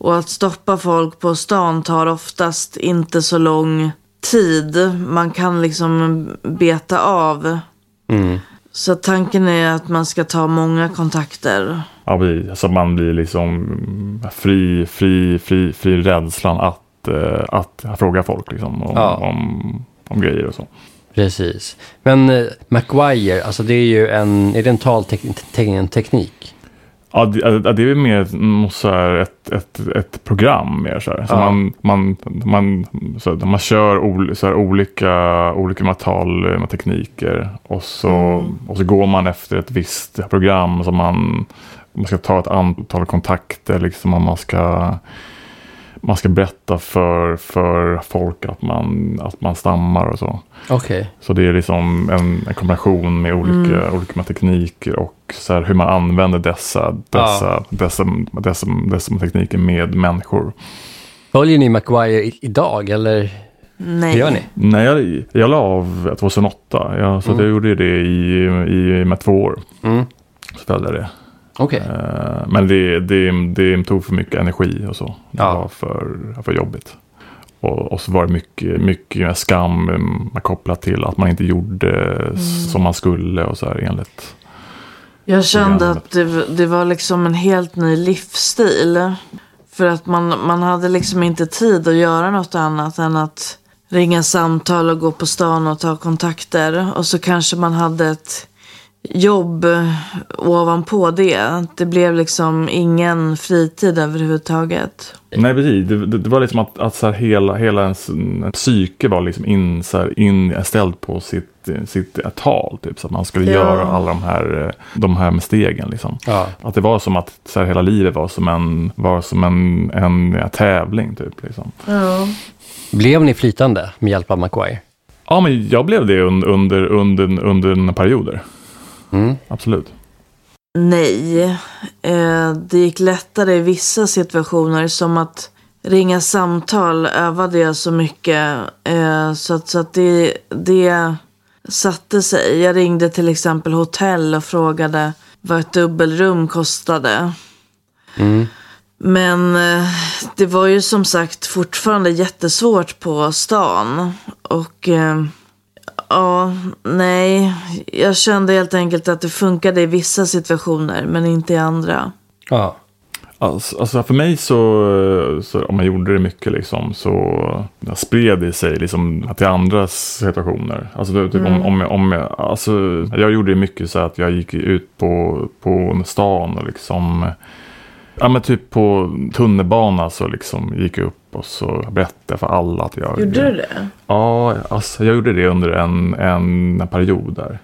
C: Och att stoppa folk på stan tar oftast inte så lång tid. Man kan liksom beta av.
A: Mm.
C: Så tanken är att man ska ta många kontakter.
B: Ja, precis. Så man blir liksom fri, fri, fri, fri rädslan att, eh, att fråga folk liksom, om,
A: Ja.
B: om, om grejer och så.
A: Precis. Men eh, Maguire, alltså det är ju en, är det en talteknik?
B: Ja, det, ja, det är väl mer mm, så här ett, ett, ett program mer så här. Så
A: Ja.
B: man, man, man, så här, man kör ol, så här, olika, olika matal eh, tekniker och så, och så går man efter ett visst program som man, man ska ta ett antal kontakter liksom och man ska man ska berätta för, för folk att man, att man stammar och så.
A: Okej.
B: Så det är liksom en, en kombination med olika, olika tekniker och så här hur man använder dessa, dessa, dessa, dessa, dessa tekniker med människor.
A: Följer ni Maguire i, idag eller
C: Nej.
A: hur gör ni?
B: Nej, jag, jag la av 2008, jag, så att jag gjorde ju det i, i, med två år.
A: Mm.
B: Så följde jag det.
A: Okej.
B: Eh, Men det, det, det tog för mycket energi och så. Det
A: Ja.
B: var för, för jobbigt. Och, och så var det mycket, mycket skam eh, kopplat till att man inte gjorde eh, som man skulle och så här enligt.
C: Jag kände
B: programmet.
C: att det, det var liksom en helt ny livsstil. För att man, man hade liksom inte tid att göra något annat än att ringa samtal och gå på stan och ta kontakter. Och så kanske man hade ett jobb ovanpå det. Det blev liksom ingen fritid överhuvudtaget.
B: Nej, precis. Det, det, det var liksom att, att så här hela, hela ens mm, psyke var liksom in, så här inställd på sitt, eh, sitt eh, tal. Typ, så att man skulle
C: Ja.
B: göra alla de här, eh, de här med stegen. Liksom.
A: Ja.
B: Att det var som att så här, hela livet var som en, var som en, en eh, tävling. Typ, liksom.
C: Ja.
A: Blev ni flytande med hjälp av Maguire?
B: Ja, men jag blev det un, under, under, under en perioder.
A: Mm.
B: Absolut.
C: Nej, eh, det gick lättare i vissa situationer som att ringa samtal övade jag så mycket eh, så att, så att det, det satte sig. Jag ringde till exempel hotell och frågade vad ett dubbelrum kostade.
A: Mm.
C: Men eh, det var ju som sagt fortfarande jättesvårt på stan. Och eh, ja, nej. Jag kände helt enkelt att det funkade i vissa situationer men inte i andra.
A: Ja.
B: Alltså, alltså för mig så, så, om man gjorde det mycket liksom, så spred det sig liksom till andra situationer. Alltså, det- typ, om, om jag, om jag, alltså, jag gjorde det mycket så att jag gick ut på, på stan och liksom, ja men typ på tunnelbana så liksom gick jag upp och så berättade jag för alla att jag...
C: det?
B: Ja, alltså, jag gjorde det under en, en period där.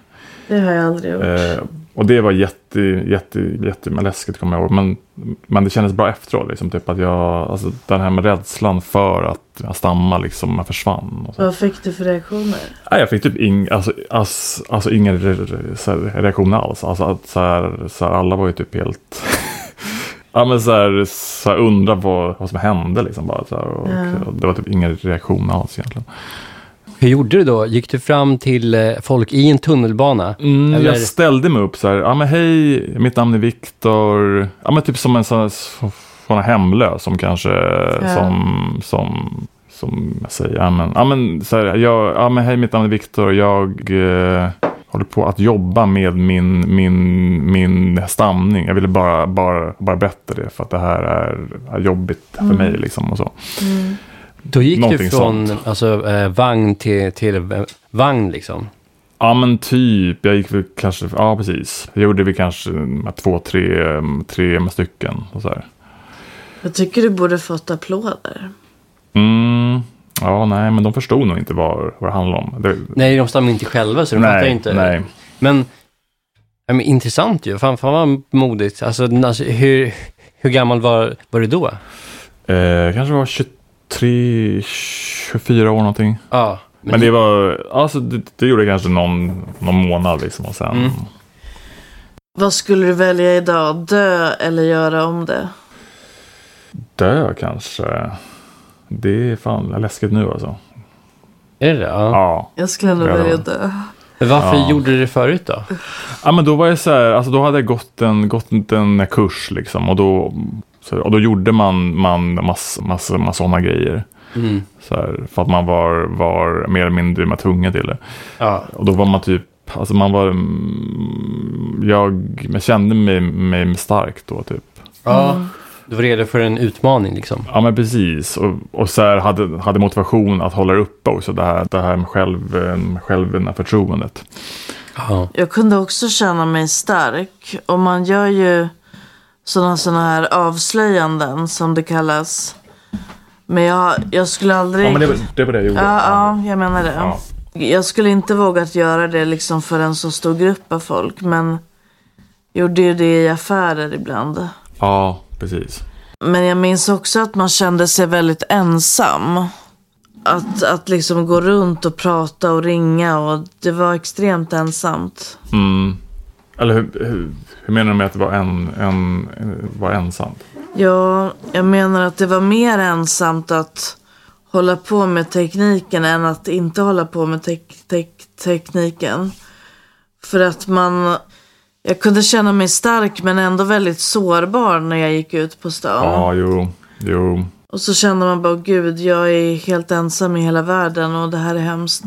C: Det har jag aldrig gjort.
B: Eh, och det var jätte, jätte, jätteläskigt kommer jag ihåg. Men, men det kändes bra efteråt. Liksom, typ att jag, alltså, den här med rädslan för att jag stamma liksom, försvann. Och så.
C: Vad fick du för reaktioner?
B: Nej, jag fick typ ing, alltså, ass, alltså, ingen re, re, så här, reaktion alls. Alltså, att, så här, så här, alla var ju typ helt... ja, men så här, så här, undra vad, vad som hände. Liksom, bara, så här, och,
C: Ja.
B: och det var typ ingen reaktion alls egentligen.
A: Hur gjorde du då? Gick du fram till eh, folk i en tunnelbana?
B: Mm,
A: Eller-
B: Jag ställde mig upp så här, ja men hej, mitt namn är Viktor. Ja men typ som en sån, sån här hemlös som kanske, som, som, som jag säger, ja men, ja men så här, jag, ja men hej mitt namn är Viktor, jag eh, håller på att jobba med min, min, min stamning. Jag ville bara, bara, bara berätta det för att det här är, är jobbigt för mig liksom och så.
A: Då gick
B: Någonting
A: du från
B: sånt.
A: alltså, eh, vagn till, till eh, vagn liksom?
B: Ja men typ, jag gick väl kanske, ja precis. Jag gjorde vi kanske mm, två, tre, mm, tre stycken och så här.
C: Jag tycker du borde fått applåder.
B: Mm. Ja, nej, men de förstod nog inte vad, vad det handlade om. Det,
A: Nej, de stammar inte själva så de fattar
B: nej,
A: inte.
B: nej.
A: Men Ja, men intressant ju. Fan, fan vad modigt. Alltså, alltså hur, hur gammal var, var du då?
B: Eh, kanske var 23, 24 år någonting.
A: Ja.
B: Men, det var, alltså det, det gjorde kanske någon, någon månad liksom och sen.
A: Mm.
C: Vad skulle du välja idag? Dö eller göra om det?
B: Dö kanske. Det är fan läskigt nu alltså.
A: Är det det? Ja.
B: Ja.
C: Jag skulle ändå
B: Ja.
C: välja dö.
A: Men Varför
B: Ja.
A: gjorde du det förut då?
B: Ja men då var jag så här, alltså då hade jag gått en, gått en kurs liksom och då, så, och då gjorde man, man massa, massa, massa sådana grejer.
A: Mm.
B: Så här, för att man var, var mer eller mindre med tunga till det.
A: Ja.
B: Och då var man typ, alltså man var, mm, jag, jag kände mig, mig stark då typ.
A: ja. Du var redo för en utmaning liksom.
B: Ja men precis. Och, och så här hade, hade motivation att hålla uppe också det här, det här med själv, eh, självförtroendet.
A: Ja.
C: Jag kunde också känna mig stark. Och man gör ju sådana såna här avslöjanden som det kallas. Men jag, jag skulle aldrig...
B: Ja men det, var- det var det jag gjorde.
C: ja, ja, jag menar det.
B: Ja.
C: Jag skulle inte vågat göra det liksom för en så stor grupp av folk. Men gjorde ju det i affärer ibland.
B: ja precis.
C: Men jag minns också att man kände sig väldigt ensam. Att, att liksom gå runt och prata och ringa och det var extremt ensamt.
B: Mm. Eller hur, hur, hur menar du med att det var, en, en, var ensamt?
C: Ja, jag menar att det var mer ensamt att hålla på med tekniken än att inte hålla på med tek- tek- tekniken. För att man... Jag kunde känna mig stark men ändå väldigt sårbar när jag gick ut på stan.
B: Ja, jo, jo.
C: Och så kände man bara, gud, jag är helt ensam i hela världen och det här är hemskt.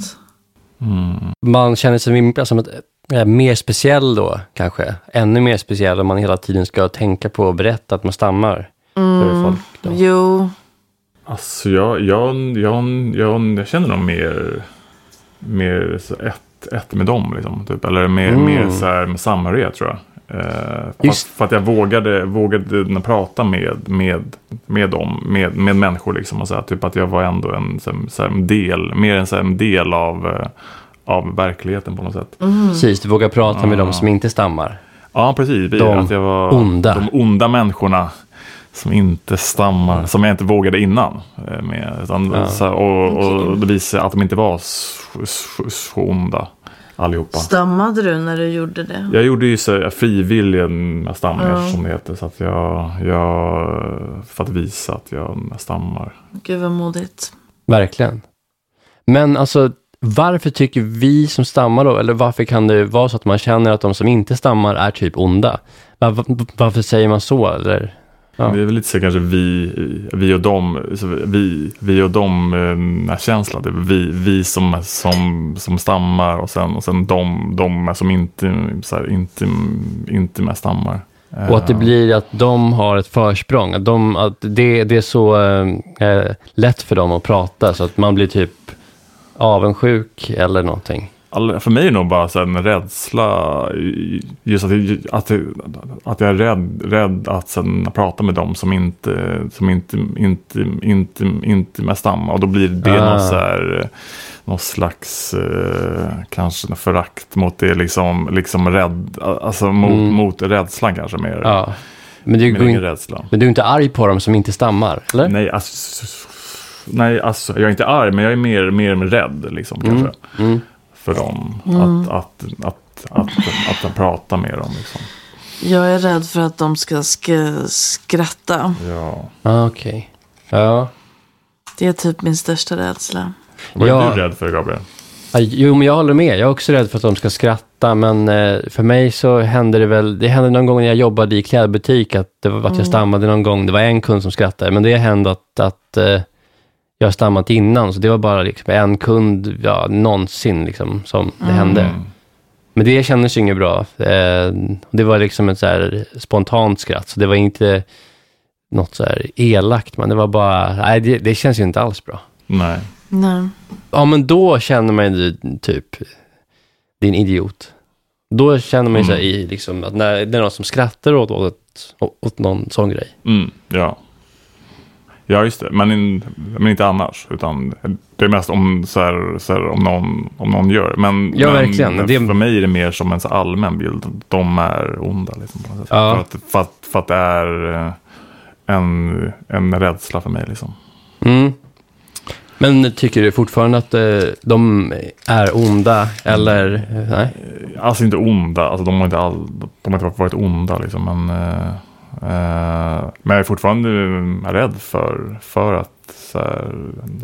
B: Mm.
A: Man känner sig min- som ett, eh, mer speciell då kanske. Ännu mer speciell om man hela tiden ska tänka på och berätta att man stammar.
C: Mm.
B: För folk.
C: Jo,
B: Alltså jag, jag, jag, jag, jag känner nog mer, mer så ett, ett med dem. Liksom, typ. Eller mer, mer så här med samhörighet tror jag. Eh, för, att,
A: Just-
B: för att jag vågade, vågade prata med, med, med dem, med, med människor. Liksom, och så här, typ att jag var ändå en, så här, så här, en del, mer en, så här, en del av, eh, av verkligheten på något sätt.
A: Precis, du vågar prata med de som inte stammar.
B: Ja, precis. Vi,
A: De
B: att jag var
A: onda.
B: De onda människorna som inte stammar, som jag inte vågade innan. eh, Med, utan, så här, och, och det visade att de inte var så, så, så onda allihopa.
C: stammade du när du gjorde det?
B: Jag gjorde ju så här frivilliga stamningar som det heter. Så att jag, jag, för att visa att jag stammar.
C: Gud vad modigt.
A: Verkligen. Men alltså, varför tycker vi som stammar då, eller varför kan det vara så att man känner att de som inte stammar är typ onda? Var, var- varför säger man så? Eller? Ja.
B: Det är väl lite så här kanske vi, vi och dem, så vi, vi och dem eh, känslan. Det är vi, vi som, som, som stammar och sen, och sen de, de som inte, så här, inte, inte med stammar.
A: Och att det blir att de har ett försprång, att, de, att det, det är så eh, eh, lätt för dem att prata så att man blir typ avundsjuk eller någonting.
B: All, för mig är det nog bara så här en rädsla, i- just att, jag- att, jag- att jag är rädd, rädd att sen prata med dem som inte, som inte, inte, inte, inte med stammar. Och då blir det
A: Ah.
B: någon, så här, eh, någon slags eh, kanske en förakt mot det, liksom, liksom rädd, alltså mot, mot rädslan kanske mer.
A: Mm. Ja. Men, du
B: Min
A: går
B: egen
A: in,
B: rädsla.
A: men du är inte arg på dem som inte stammar, eller?
B: Nej, alltså, nej, alltså jag är inte arg, men jag är mer, mer rädd liksom,
A: Mm.
B: kanske, för dem. Att, att, att, att, att, prata med dem. Liksom.
C: Jag är rädd för att de ska sk- skratta.
B: Ja.
A: Ah, Okej. Ja.
C: Det är typ min största rädsla.
B: Vad är
A: Ja.
B: du rädd för, Gabriel?
A: Ja, Jo, men jag håller med. Jag är också rädd för att de ska skratta, men eh, för mig så hände det väl, det hände någon gång när jag jobbade i klädbutik att, det var, att jag stammade någon gång. Det var en kund som skrattade, men det hände att, att eh, jag har stammat innan, så det var bara liksom en kund ja, någonsin liksom, som det hände.
B: Mm.
A: Men det kändes ju inget bra. Eh, och det var liksom ett så här spontant skratt, så det var inte något så här elakt, men det var bara, nej, det, det känns ju inte alls bra.
B: Nej.
C: Nej.
A: Ja, men då känner man ju typ din idiot. Då känner man ju så här i, liksom, att när det är någon som skrattar åt, åt, åt någon sån grej.
B: Mm, ja. Mm. Ja, just det. Men, in, men inte annars. Utan det är mest om, så här, så här, om, någon, om någon gör. Men,
A: Ja,
B: men
A: verkligen. Det-
B: för mig är det mer som en så allmän bild. De är onda. Liksom, på något sätt.
A: Ja.
B: för, att, för, att, för att det är eh, en, en rädsla för mig. Liksom.
A: Mm. Men tycker du fortfarande att eh, de är onda eller? eh, Nej.
B: Alltså inte onda, alltså, de, har inte all, de har inte varit onda liksom. Men, eh, eh, men jag är fortfarande eh, rädd för, för att så här,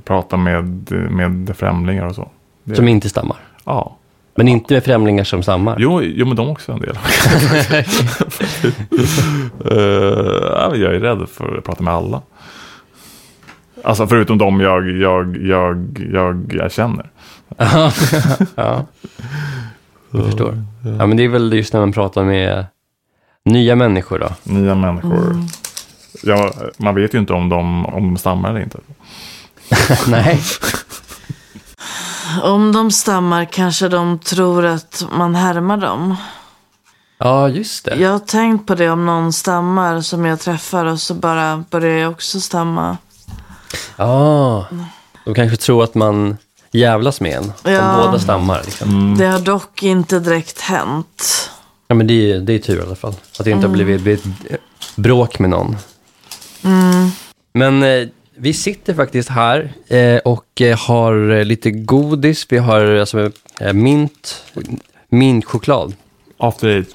B: prata med, med främlingar och så. Det-
A: Som inte stammar.
B: Ja.
A: Men inte med främlingar som stammar.
B: Jo, jo, men de också en del. Eh, ja, men jag är rädd för att prata med alla. Alltså förutom de jag, jag, jag, jag, jag känner.
A: ja, jag förstår. Ja, men det är väl just när man pratar med nya människor då.
B: Nya människor. Ja, man vet ju inte om de, om de stammar eller inte.
A: nej.
C: Om de stammar kanske de tror att man härmar dem.
A: Ja, just det.
C: Jag har tänkt på det om någon stammar som jag träffar och så bara börjar jag också stamma.
A: Ja. Ah. De kanske tror att man jävlas med en.
C: Ja.
A: Om båda stammar. Liksom.
C: Det har dock inte direkt hänt.
A: Ja, men det är, det är tur i alla fall. Att det inte har blivit, blivit eh, bråk med någon. Men eh, vi sitter faktiskt här eh, och eh, har eh, lite godis. Vi har alltså, eh, mint, mintchoklad.
B: After eight.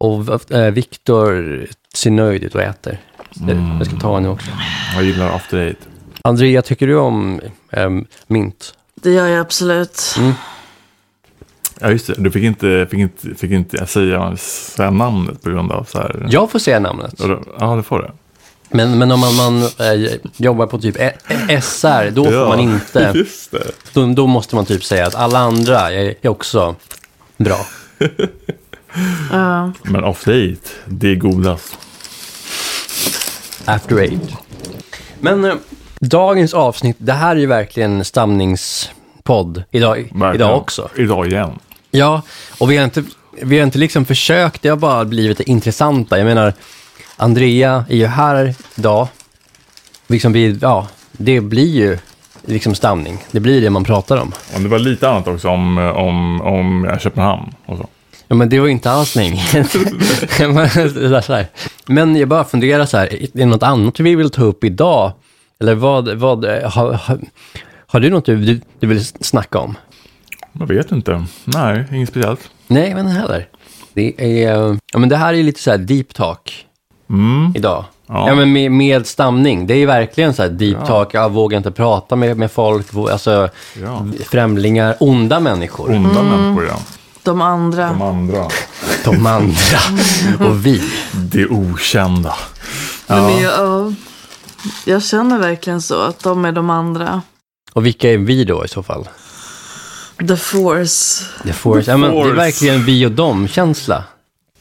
A: Och v- eh, Viktor ser nöjd ut och äter. Så Jag ska ta en nu också.
B: Jag gillar after eight.
A: Andrea, tycker du om eh, mint?
C: Det gör jag absolut.
B: Ja, just det. Du fick inte, fick inte, fick inte säga, säga namnet på grund av så här.
A: Jag får säga namnet.
B: Ja, du får det.
A: Men, men om man, man eh, jobbar på typ ä- ä- SR, då får
B: Ja.
A: man inte...
B: Just det.
A: Då, då måste man typ säga att alla andra är, är också bra.
C: Ja.
B: Men after eight, det är godast.
A: After eight. Men eh, dagens avsnitt, det här är ju verkligen stamningspodd idag,
B: Verkligen.
A: idag också.
B: Idag igen.
A: Ja, och vi har inte, vi har inte liksom försökt, det har bara blivit det intressanta. Jag menar, Andrea är ju här idag. Liksom vi, ja, det blir ju liksom stamning. Det blir det man pratar om.
B: Och det var lite annat också om, om, om Köpenhamn och så.
A: Ja, men det var ju inte alls meningen. Men det är så här. men jag bara funderar så här, är det något annat vi vill ta upp idag? Eller vad, vad har, har, har du något du, du, du vill snacka om?
B: Jag vet inte. Nej, inget speciellt.
A: Nej, men heller. Det är, ja men det här är lite så här deep talk idag. Ja.
B: Mm. Ja.
A: men med, med stamning. Det är ju verkligen så här deep talk, jag vågar inte prata med, med folk, vå- alltså
B: Ja. Mm.
A: främlingar, onda människor.
B: Onda människor, ja.
C: De andra.
B: De andra.
A: De andra
B: Mm.
A: och vi.
B: Det okända.
C: Nej, men jag, ja. jag känner verkligen så, att de är de andra.
A: Och vilka är vi då i så fall?
C: The force.
A: The Force. Ja, men det är
B: Force.
A: verkligen vi och dem-känsla.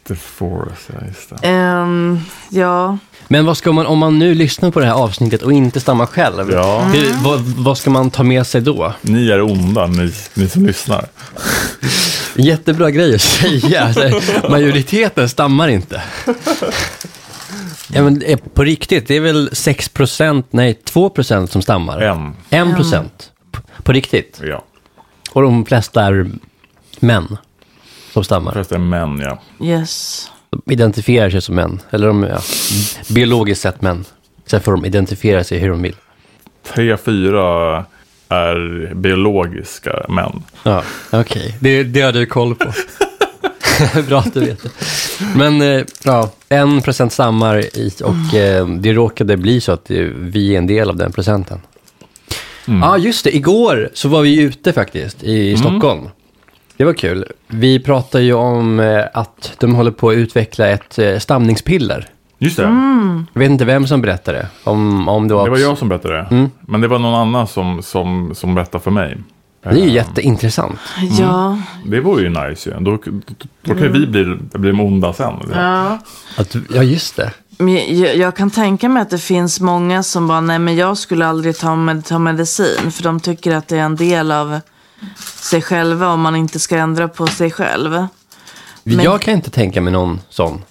B: The force, ja just det.
C: Ehm, ja,
A: Men vad ska man, om man nu lyssnar på det här avsnittet och inte stammar själv,
B: Ja.
A: hur, vad, vad ska man ta med sig då?
B: Ni är onda, ni, ni som lyssnar.
A: Jättebra grej att säga. Alltså, Majoriteten stammar inte. Ja, men eh, på riktigt, det är väl 6%, nej 2% som stammar.
B: En.
A: 1%. P- På riktigt.
B: Ja.
A: Och de flesta är män som stammar.
B: Förresten män, ja.
C: yes.
A: De identifierar sig som män. Eller de, ja, biologiskt sett män. Sen får de identifiera sig hur de vill.
B: Tre, fyra är biologiska män.
A: Ja, okej. Det, det har du koll på. Bra att du vet det. Men eh, ja, en procent stammar i, och eh, det råkade bli så att eh, vi är en del av den procenten.
B: Mm.
A: Ja, ah, just det. Igår så var vi ute faktiskt i, Stockholm. Det var kul. Vi pratade ju om eh, att de håller på att utveckla ett eh, stamningspiller.
B: Just det.
A: Jag vet inte vem som berättade. Om, om det, var
B: Det var jag som berättade det.
A: Mm.
B: Men det var någon annan som, som, som berättade för mig.
A: det är ju jätteintressant.
C: Ja,
B: Det vore ju nice ju. Då, då, då kan ju vi bli, bli de onda sen. liksom.
C: ja.
A: Att, ja, just det.
C: Men jag, jag kan tänka mig att det finns många som bara, nej men jag skulle aldrig ta, med, ta medicin. För de tycker att det är en del av sig själva om man inte ska ändra på sig själv.
A: Jag kan inte tänka mig någon sån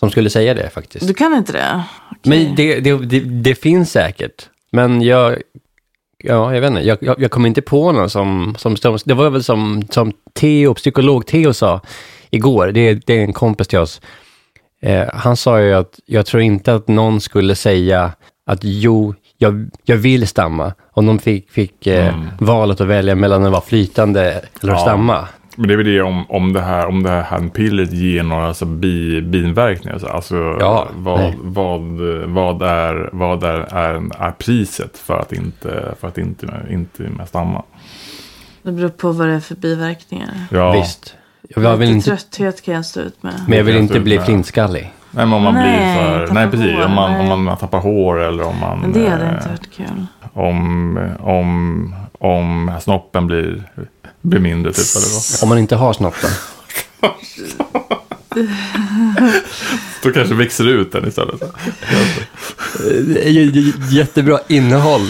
A: som skulle säga det faktiskt.
C: Du kan inte det?
A: Men det, det, det, det finns säkert. Men jag, ja, jag vet inte, jag, jag, jag kom inte på någon som, som, som det var väl som, som Theo, psykolog Theo sa igår, det, är- det är en kompis till oss. Eh, han sa ju att jag tror inte att någon skulle säga att jo, jag, jag vill stamma. Om de fick, fick eh, valet att välja mellan att vara flytande eller att
B: Mm. Ja.
A: stamma.
B: Men det är väl det om, om det här, om det här handpillret ger några alltså, bi, biinverkningar. så- Alltså,
A: Ja,
B: vad,
A: nej.
B: vad, vad, är, vad är, är, är priset för att inte, för att inte, inte med stamma?
C: Det beror på vad det är för biverkningar.
B: Ja.
A: Visst. Jag vill
C: Lite
A: inte,
C: Trötthet kan jag stå ut med.
A: men jag vill
B: Jag
A: inte
B: tror
A: bli
B: det.
A: flintskallig.
B: Nej, men om man
C: Nej,
B: blir så här,
C: tappar
B: nej precis,
C: hår,
B: om man,
C: nej.
B: om man tappar hår eller om man...
C: Men det hade
B: eh,
C: inte varit kul.
B: om, om, om snoppen blir, blir mindre typ eller vad.
A: Om man inte har snopp då.
B: Då kanske växer det ut den istället.
A: Eh, Det är ju j- jättebra innehåll.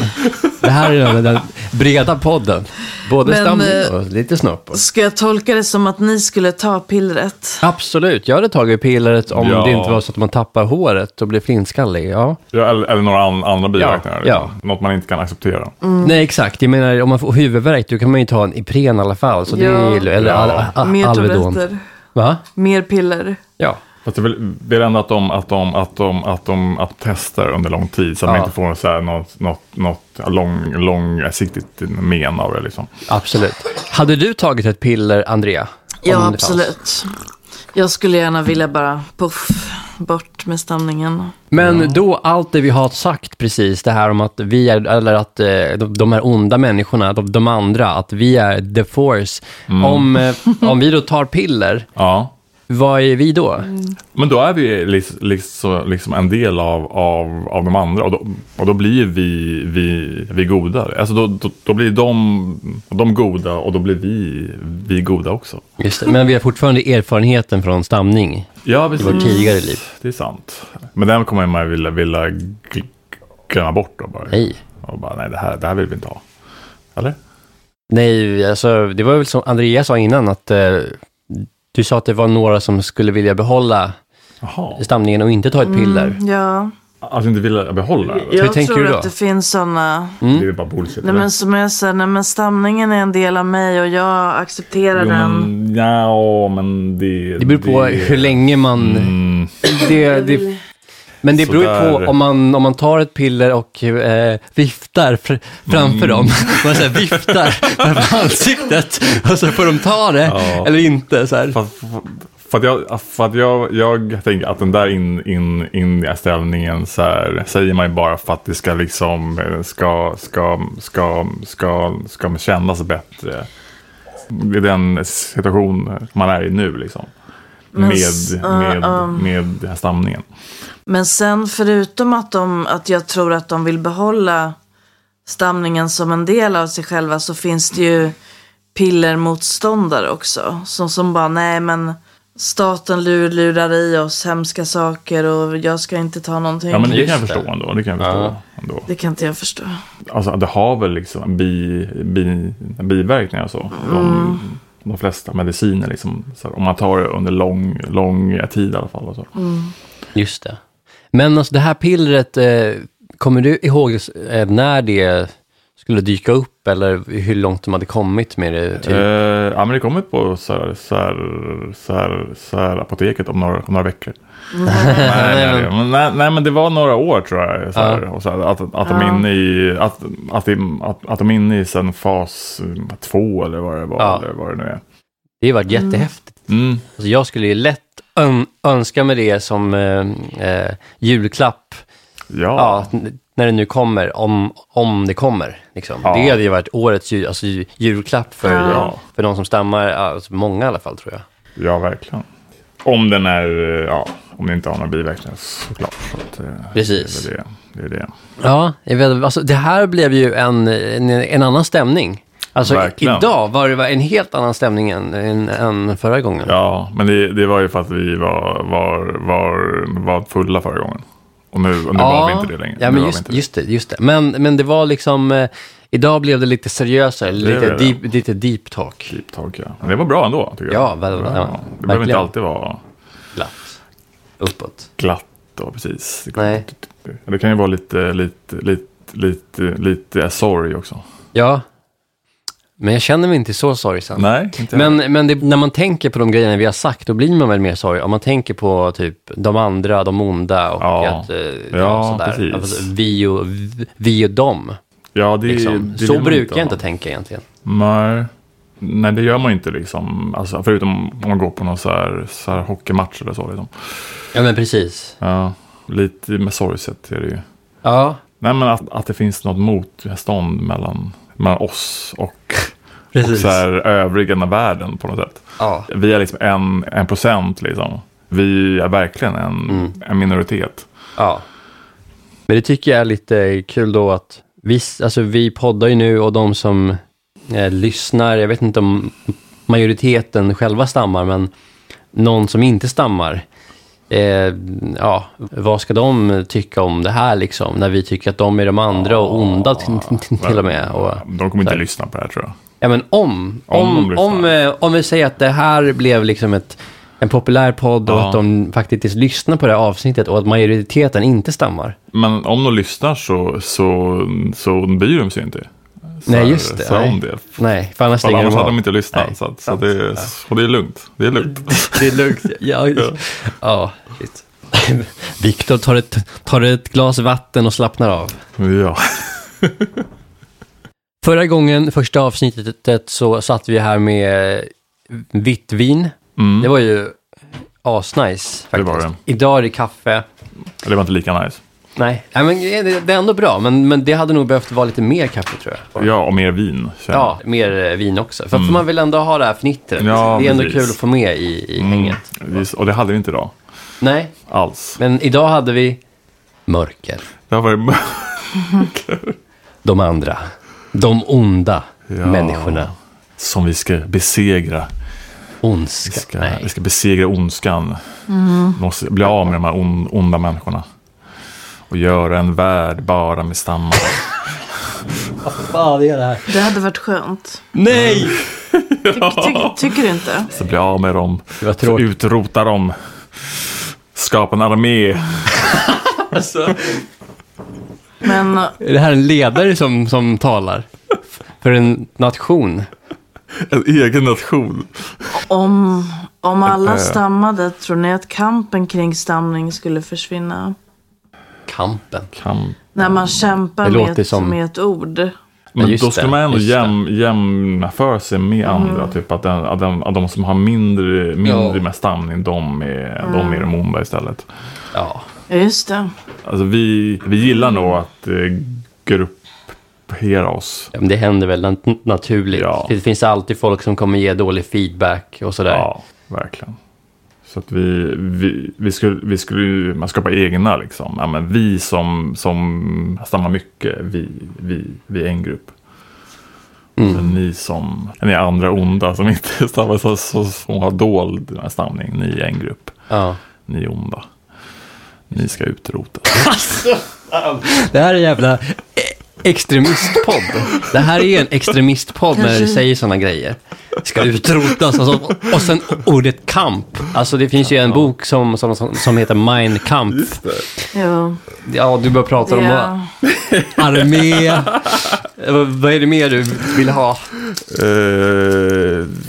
A: Det här är den, den breda podden. Både
C: Men,
A: stamning
C: eh,
A: och lite snopp.
C: Ska jag tolka det som att ni skulle ta pillret?
A: Absolut, jag hade tagit pillret om
B: Ja.
A: det inte var så att man tappar håret och blir flintskallig. Ja.
B: Ja, eller, eller några an, andra biverkningar.
A: Ja,
B: liksom. Något man inte kan acceptera.
C: Mm.
A: Nej, exakt. Jag menar, om man får huvudvärk, då kan man ju ta en Ipren i alla fall. Så det
C: Ja.
A: är, ju- eller
B: Ja.
A: al, a- a-
C: Mer
A: Alvedon.
C: tabletter?
A: Va?
C: Mer piller?
A: Ja.
B: Fast jag vill, vill ändå att de, att, de, att, de, att, de, att de testar under lång tid. Så att
A: Ja.
B: man inte får så här, något, något, något lång, långsiktigt men av det. Liksom.
A: Absolut. Hade du tagit ett piller, Andrea? Om det
C: Ja,
A: fanns?
C: absolut. Jag skulle gärna vilja bara poff, bort med stamningen.
A: Men då, allt det vi har sagt precis, det här om att vi är, eller att eh, de, de här onda människorna, de, de andra, att vi är the force. Om, eh, om vi då tar piller,
B: Ja.
A: vad är vi då?
B: Men då är vi liksom, liksom, liksom en del av, av, av de andra och då, och då blir vi, vi, vi goda. Alltså då, då, då blir de, de goda och då blir vi, vi goda också.
A: Just det, men vi har fortfarande erfarenheten från stamning
B: Ja,
A: i
B: precis.
A: vårt tidigare liv.
B: Det är sant. Men den kommer man ju vilja, vilja gl- glömma bort då bara.
A: Nej.
B: Och bara, nej det här, det här vill vi inte ha. Eller?
A: Nej, alltså det var väl som Andrea sa innan, att eh, du sa att det var några som skulle vilja behålla
B: Jaha.
A: stamningen och inte ta ett piller.
C: Mm. Ja,
B: Alltså inte vilja behålla det?
A: Hur
C: jag
A: tänker
C: tror
A: du då?
C: att det finns sådana.
B: Det är ju bara bullshit.
C: Nej,
B: eller?
C: men som jag säger, nej, men stamningen är en del av mig och jag accepterar
B: Jo,
C: den.
B: men, ja, men det...
A: Det beror på hur länge man...
B: Mm.
A: Det, det, men det beror ju
B: Sådär.
A: på om man, om man tar ett piller och eh, viftar fr, framför dem.
B: Mm.
A: Man så här viftar framför ansiktet och så får de ta det
B: Ja.
A: eller inte. Så här.
B: För, för, för att, jag, för att jag, jag tänker att den där in, in, in ställningen så här, säger man ju bara för att det ska liksom eh, ska, ska, ska, ska, ska kännas bättre. I den situation man är i nu liksom.
C: Men s-
B: med, med,
C: ja,
B: med den här stamningen.
C: Men sen förutom att, de, att jag tror att de vill behålla stamningen som en del av sig själva så finns det ju pillermotståndare också. Som, som bara, nej men staten lur, lurar i oss hemska saker och jag ska inte ta någonting.
B: Ja men det
A: Just
B: kan jag
A: det.
B: förstå ändå. Det kan jag förstå
A: Ja.
B: ändå.
C: Det kan inte jag förstå.
B: Alltså det har väl liksom bi, bi, biverkningar och så.
A: Mm.
B: De, de flesta mediciner liksom. Så här, om man tar det under lång, lång tid i alla fall. Och så.
A: Mm. Just det. Men alltså det här pillret, eh, kommer du ihåg eh, när det skulle dyka upp eller hur långt de hade kommit med det? Typ?
B: Eh, ja, men det kommer på så här, så här, så här, så här apoteket om några, om några veckor. nej, nej, men, nej, nej, men det var några år tror jag. Så här, och så här, att, att, de är inne i, att, att, de- att, att de är inne i sen fas mm, två eller vad det var.
A: Ja.
B: Eller vad det nu är.
A: Det har varit jättehäftigt.
B: Mm.
A: Alltså jag skulle ju lätt ön- önska mig det som eh, eh, julklapp
B: Ja.
A: Ja, att n- när det nu kommer, om, om det kommer. Liksom.
B: Ja.
A: Det hade ju varit årets ju, alltså, ju- julklapp för,
B: Ja.
A: för de som stammar, alltså, många i alla fall tror jag.
B: Ja, verkligen. Om den är, eh, ja, om den inte har några biverkningar såklart. Så att, eh,
A: Precis.
B: Det är väl det. det, är det.
A: Ja, jag vet, alltså, det här blev ju en, en, en annan stämning. Alltså i-
B: Verkligen.
A: idag var det en helt annan stämning än, än, än förra gången.
B: Ja, men det, det var ju för att vi var, var, var, var fulla förra gången. Och nu, och nu var vi inte det längre.
A: Ja,
B: Nu
A: men
B: var vi
A: just,
B: inte det.
A: just det. Just det. Men, men det var liksom, eh, idag blev det lite seriösare, lite
B: blev det.
A: deep, lite deep talk.
B: Deep talk, ja. Men det var bra ändå, tycker
A: Ja,
B: jag.
A: väl-
B: Det var-
A: ja,
B: Det behöver
A: verkligen.
B: inte alltid vara
A: Glatt. Uppåt.
B: glatt och precis.
A: Nej.
B: Det kan ju vara lite, lite, lite, lite, lite sorg också.
A: Ja. Men jag känner mig inte så sorgsen.
B: Nej, inte jag.
A: Men, men det, när man tänker på de grejerna vi har sagt, då blir man väl mer sorg. Om man tänker på typ de andra, de onda och
B: Ja.
A: att... eh,
B: Ja,
A: sådär.
B: precis.
A: Alltså, vi, och, vi- vi och dem.
B: ja, det,
A: Liksom.
B: det
A: så
B: vill man
A: brukar jag
B: ha.
A: inte tänka egentligen.
B: Nej. Nej, det gör man ju inte liksom. Alltså, förutom om man går på någon så här, så här hockeymatch eller så. Liksom.
A: Ja, men precis.
B: Ja, lite med sorgset är det ju.
A: Ja,
B: Nej, men att, att det finns något motstånd mellan, mellan oss och, och
A: precis.
B: så här, övriga världen på något sätt.
A: Ja.
B: Vi är liksom en, en procent liksom. Vi är verkligen en,
A: Mm.
B: en minoritet.
A: ja. Men det tycker jag är lite kul då att vi, alltså, vi poddar ju nu och de som eh, lyssnar, jag vet inte om majoriteten själva stammar, men någon som inte stammar, eh, ja, vad ska de tycka om det här liksom? När vi tycker att de är de andra och onda t- t- t- till och med. Och,
B: De kommer inte lyssna på det här tror jag.
A: ja, men om,
B: Om de
A: om,
B: lyssnar.
A: om, eh, om vi säger att det här blev liksom ett, en populär podd och
B: Ja.
A: att de faktiskt lyssnar på det här avsnittet och att majoriteten inte stammar.
B: Men om de lyssnar så, så, så bryr de sig inte. Så
A: Nej,
B: här-
A: just det.
B: Så här
A: Nej.
B: om det.
A: Nej, för annars
B: För
A: stänger
B: annars
A: de
B: hade de
A: av.
B: inte lyssnat.
A: Nej,
B: så att, så att det, är- och det är lugnt. Det är lugnt.
A: Det är lugnt. Ja, ja. shit. Viktor tar ett, tar ett glas vatten och slappnar av.
B: Ja.
A: Förra gången, första avsnittet, så satt vi här med vitt vin. Det var ju asnice faktiskt.
B: Mm. Det var det.
A: Idag är det kaffe.
B: Det var inte lika nice.
A: Nej, Nej men det, det är ändå bra, men, men det hade nog behövt vara lite mer kaffe tror jag.
B: Ja, och mer vin. känner jag.
A: Ja, mer eh, vin också. För, för man vill ändå ha det här fnittret.
B: Mm. Ja,
A: det är ändå
B: precis. Mm.
A: kul att få med i, i hänget.
B: Just, och det hade vi inte idag.
A: Nej,
B: Alls.
A: men idag hade vi mörker.
B: Det har varit...
A: de andra. De onda
B: Ja.
A: människorna.
B: Som vi ska besegra. Vi
A: Ondska.
B: ska, vi
A: Nej.
B: ska besegra ondskan. Måste bli av med de här on, onda människorna. Och göra en värld bara med stammar.
A: Vad fan är det här?
C: Det hade varit skönt.
A: Nej!
C: Ty, ty, tycker du inte?
B: Så bli av med dem.
A: Det var tråkigt.
B: Utrota dem. Skapa en armé.
A: Alltså,
C: Men
A: är det här en ledare som, som talar? För en nation?
B: En egen nation.
C: om, om alla
B: Eh.
C: stammade, tror ni att kampen kring stamning skulle försvinna?
A: Kampen.
B: Kamp.
C: När man kämpar
A: Det
C: med
A: låter
C: ett,
A: som-
C: med ett ord.
A: Ja,
B: Men
A: just
B: då skulle
A: det,
B: man ändå
A: just det.
B: jäm, jämna för sig med andra. Typ att, den, att, den, att de som har mindre, mindre
A: Ja.
B: med stamning, de är, de är de onda istället.
A: Ja.
C: Ja, just det.
B: Alltså vi, vi gillar nog att eh, gruppera oss.
A: Ja, men Det händer väl nat- naturligt.
B: Ja.
A: Det finns alltid folk som kommer ge dålig feedback och sådär.
B: Ja, verkligen. Så att vi, vi, vi skulle, vi skulle ju- man skapa egna liksom. Ja, men vi som, som stammar mycket, vi, vi, vi är en grupp. Men ni som, ni andra onda som inte stammar, så, så, som har dold den här stamningen, ni är en grupp.
A: Ja.
B: Ni är onda. Ni ska utrotas.
A: Det här är en jävla e- extremistpodd. Det här är en extremistpodd när du
C: Kanske-
A: säger sådana grejer. Ska utrotas alltså. och sen ordet kamp. Alltså det finns ju en bok som, som, som- som heter Mein Kampf.
C: Jo,
A: Ja, du börjar prata om vad-
C: det,
A: armé. Eh, Vad är det mer du vill ha?
B: Eh,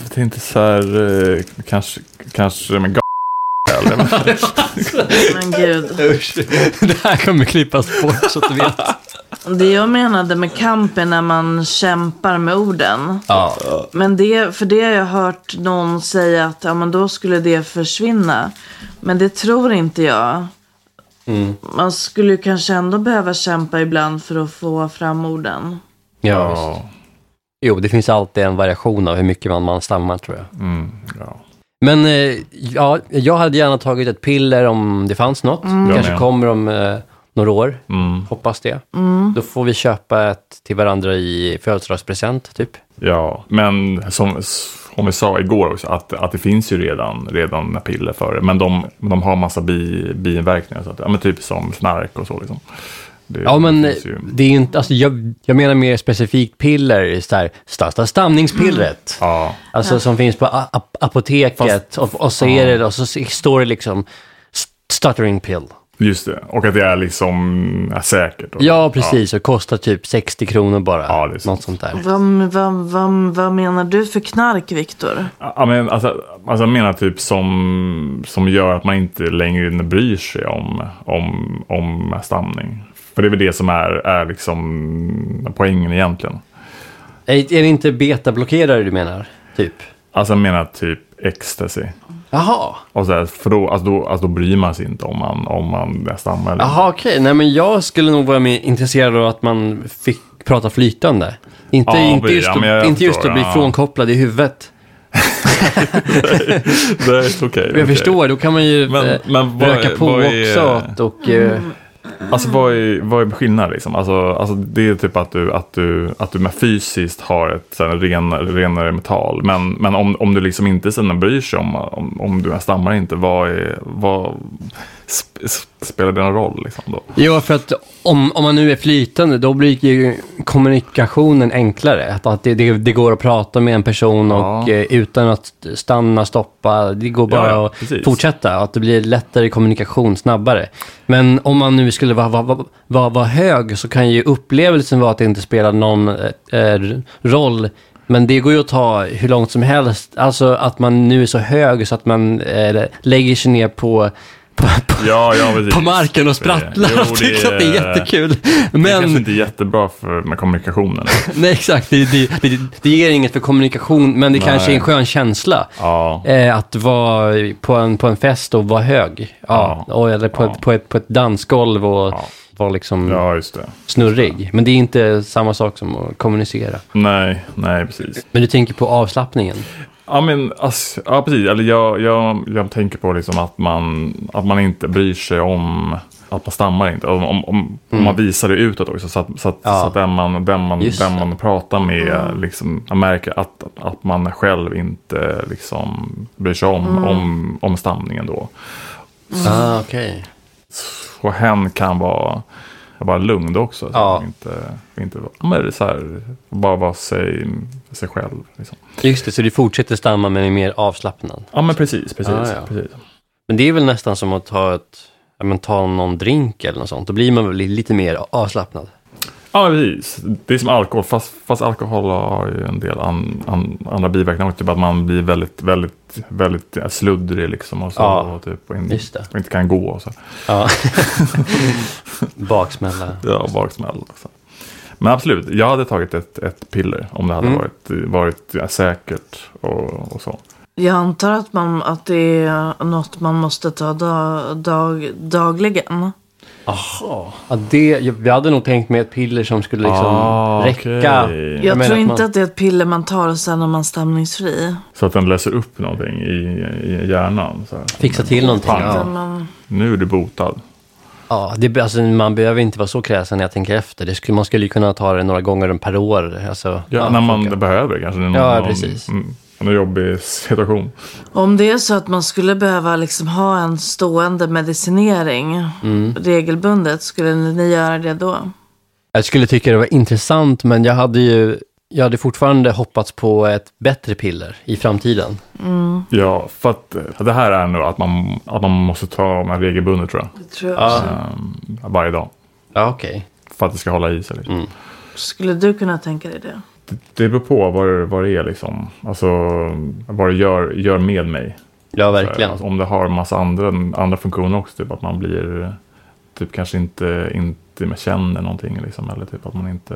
B: jag tänkte så här, eh, kanske, kanske med
C: men gud.
A: Usch. Det här kommer klippas bort så att du vet.
C: Det jag menade med kamp är när man kämpar med orden.
A: Ja,
C: Men det, för det har jag hört någon säga att ja, men då skulle det försvinna. Men det tror inte jag.
A: Mm.
C: Man skulle ju kanske ändå behöva kämpa ibland för att få fram orden.
A: ja. visst. Jo, det finns alltid en variation av hur mycket man, man stammar tror jag.
B: Mm, ja.
A: Men eh, ja, jag hade gärna tagit ett piller om det fanns något.
B: Jag
A: kanske
B: med.
A: kommer om eh, några år.
B: Mm,
A: Hoppas det. Då får vi köpa ett till varandra i födelsedagspresent, typ.
B: ja, men som, som vi sa igår också, att, att det finns ju redan, redan piller för det. Men de, de har massa bi, biinverkningar, så att, ja, men typ som snark och så. Liksom. Det,
A: Ja, men eh,
B: det finns ju,
A: det är ju inte... Alltså, jag, jag menar mer specifikt piller, så här, största stamningspillret.
B: ja,
A: Alltså som finns på a- ap- apoteket och, och så är det och så s- står det liksom st- stuttering pill.
B: Just det. Och att det är liksom är säkert. Och,
A: Ja, precis. Och kostar typ 60 kronor bara.
B: Ja, det är sant.
A: Något sånt där.
C: Vad, vad, vad, vad menar du för knark, Viktor?
B: Ja, Ja, men alltså, alltså jag menar typ som, som gör att man inte längre bryr sig om, om, om stamning. För det är väl det som är, är liksom poängen egentligen.
A: Är, är det inte betablockerare du menar? Typ?
B: Alltså jag menar typ ecstasy.
A: Jaha.
B: Och så här, för då, alltså då, alltså då bryr man sig inte om man, om man stammar. eller-
A: Jaha, okej. Nej, men jag skulle nog vara mer intresserad av att man fick prata flytande. Inte,
B: Ja,
A: inte
B: precis.
A: just,
B: Ja,
A: att,
B: men jag
A: inte just
B: förstår,
A: att bli
B: ja.
A: frånkopplad i huvudet.
B: Det är okej.
A: Jag
B: okej.
A: förstår, då kan man ju
B: Men-
A: eh,
B: men vad-
A: röka på
B: vad är-
A: oxat och... eh,
B: Alltså vad är, vad är skillnaden liksom? Alltså, alltså det är typ att du, att du, att du med fysiskt har ett så här, renare, renare metall. Men, men om, om du liksom inte sen bryr sig om, om, om du ens stammar inte, vad, är, vad sp, sp, spelar det någon roll liksom då?
A: Ja, för att om, om man nu är flytande, då blir ju kommunikationen enklare. Att, att det, det, det går att prata med en person och
B: Ja.
A: eh, utan att stanna, stoppa. Det går bara
B: Ja, ja,
A: att
B: precis.
A: fortsätta. Att det blir lättare kommunikation snabbare. Men om man nu skulle vara vara vara vara hög så kan ju upplevelsen vara att det inte spelar någon eh, eh, roll. Men det går ju att ta hur långt som helst. Alltså att man nu är så hög så att man eh, lägger sig ner på, på, på
B: Ja, ja precis.
A: på marken och sprattlar
B: Jo,
A: och tycker att det är jättekul.
B: Det är kanske
A: Men,
B: inte är jättebra för, med kommunikationen.
A: nej exakt, det, det, det, det ger inget för kommunikation, men det
B: Nej.
A: kanske är en skön känsla.
B: Ja,
A: Eh, att vara på en, på en fest och vara hög. Ja,
B: Ja.
A: Och, eller på, ett, på, ett, på ett dansgolv och
B: Ja.
A: vara liksom
B: ja just det.
A: snurrig. Men det är inte samma sak som att kommunicera.
B: Nej, nej precis.
A: Men du tänker på avslappningen.
B: Ja men ass, ja, precis, eller jag, jag, jag tänker på liksom att, man, att man inte bryr sig om att man stammar inte. Om, om, om, om man visar det utåt också så att, så att,
A: Mm. Ja.
B: så att den, man, den, man,
A: Just Mm.
B: den man pratar med liksom, man märker att, att man själv inte liksom, bryr sig om,
A: Mm.
B: om, om stamningen då. Mm.
A: Ah, okej.
B: Och hen kan vara, vara lugn då också. Så
A: Ja.
B: att man inte, inte, ja, men så här, bara vara sig, sig själv. Liksom.
A: Just det, så du fortsätter stamma men är mer avslappnad.
B: Ja men precis, precis.
A: Ah, ja.
B: precis.
A: Men det är väl nästan som att ta, ett, ja, men ta någon drink eller något sånt. Då blir man väl lite mer avslappnad.
B: Ja, precis. Det är som alkohol, fast, fast alkohol har ju en del an, an, andra biverkningar. också. Typ att man blir väldigt, väldigt, väldigt sluddrig liksom. Och, så,
A: Ja,
B: och, typ, och, in,
A: just det.
B: och inte kan gå och så.
A: Ja. Baksmälla.
B: Ja, och baksmäll. och så. Men absolut, jag hade tagit ett, ett piller om det hade
A: Mm.
B: varit, varit ja, säkert och, och så.
C: Jag antar att, man, att det är något man måste ta da, dag, dagligen.
A: Jaha. Ja, det, jag hade nog tänkt mig ett piller som skulle liksom
B: Ah,
A: räcka.
B: okej.
C: Jag,
A: menar
C: tror
A: att
C: inte
A: man-
C: att det är ett piller man tar sen när man är stamningsfri.
B: Så att den läser upp någonting i, i hjärnan. Så här.
A: Fixa till någonting.
C: Utan
A: Ja.
C: Man,
B: Nu är du botad.
A: Ja, det, alltså, man behöver inte vara så kräsen när jag tänker efter. Det skulle, man skulle ju kunna ta det några gånger per år. Alltså,
B: Ja,
A: ja,
B: när man
A: funkar.
B: behöver kanske. Någon,
A: Ja,
B: någon-
A: precis.
B: mm, en jobbig situation.
C: om det är så att man skulle behöva liksom ha en stående medicinering
A: Mm.
C: regelbundet, skulle ni göra det då?
A: Jag skulle tycka det var intressant, men jag hade ju jag hade fortfarande hoppats på ett bättre piller i framtiden.
B: Ja, för att eh, det här är nog att man, att man måste ta dem här regelbundet tror jag.
C: Det tror jag också.
B: Ehm, varje dag.
A: Ja, okej. Mm.
B: För att det ska hålla i sig. Liksom.
C: Skulle du kunna tänka dig det?
B: Det beror på vad det, vad det är liksom. Alltså vad det gör, gör med mig.
A: Ja, verkligen.
B: Alltså, om det har massa andra, andra funktioner också. Typ att man blir, eh, typ kanske inte, inte mer känner någonting liksom. Eller typ att man inte,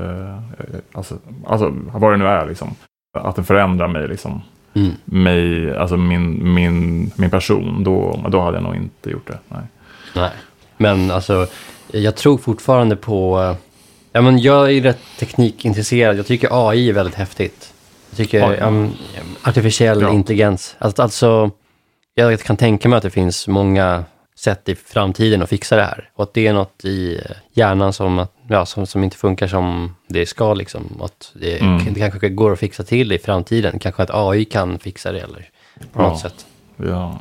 B: eh, alltså, alltså vad det nu är liksom. Att det förändrar mig liksom.
A: Mm.
B: Mig, alltså min, min, min person. Då, då hade jag nog inte gjort det. Nej.
A: Nej, men alltså jag tror fortfarande på... eh, Ja, men jag är ju rätt teknikintresserad. Jag tycker AI är väldigt häftigt. Jag tycker
B: AI.
A: ja, men, artificiell
B: Ja.
A: intelligens. Alltså, alltså, jag kan tänka mig att det finns många sätt i framtiden att fixa det här. Och att det är något i eh, hjärnan som, att, ja, som, som inte funkar som det ska. Liksom. Och Att det,
B: Mm.
A: det kanske går att fixa till i framtiden. Kanske att AI kan fixa det eller på
B: Ja.
A: något sätt.
B: Ja.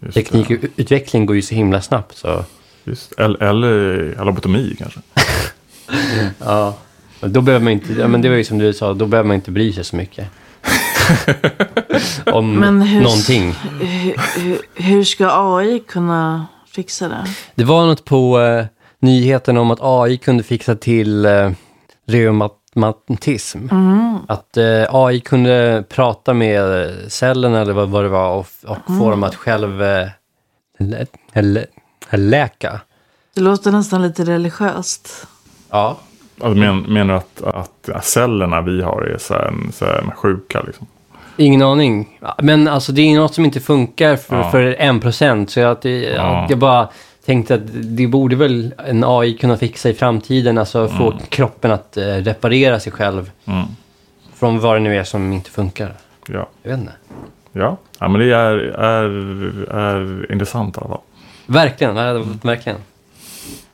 B: Just det.
A: Teknikutveckling går ju så himla snabbt. Så.
B: Just, eller, eller lobotomi kanske.
A: Ja. Då behöver man inte, ja, men det var ju som du sa, då behöver man inte bry sig så mycket. Om
C: Men hur-
A: någonting.
C: Hur, hur, hur ska AI kunna fixa det.
A: Det var något på eh, nyheten om att AI kunde fixa till eh, reumatism. Att eh, AI kunde prata med eh, cellerna eller vad, vad det var och, och få dem att själv eh, lä, lä, läka.
C: Det låter nästan lite religiöst.
A: Ja.
B: Alltså, men, menar du att, att cellerna vi har är så här, så här sjuka? Liksom?
A: Ingen aning. Men alltså det är något som inte funkar för,
B: Ja.
A: för en procent. Så att det,
B: Ja.
A: att jag bara tänkte att det borde väl en AI kunna fixa i framtiden. Alltså få kroppen att eh, reparera sig själv.
B: Mm.
A: Från vad det nu är som inte funkar.
B: Ja.
A: Jag vet inte.
B: Ja. ja, men det är, är, är intressant i alla fall.
A: Verkligen, det hade varit, verkligen.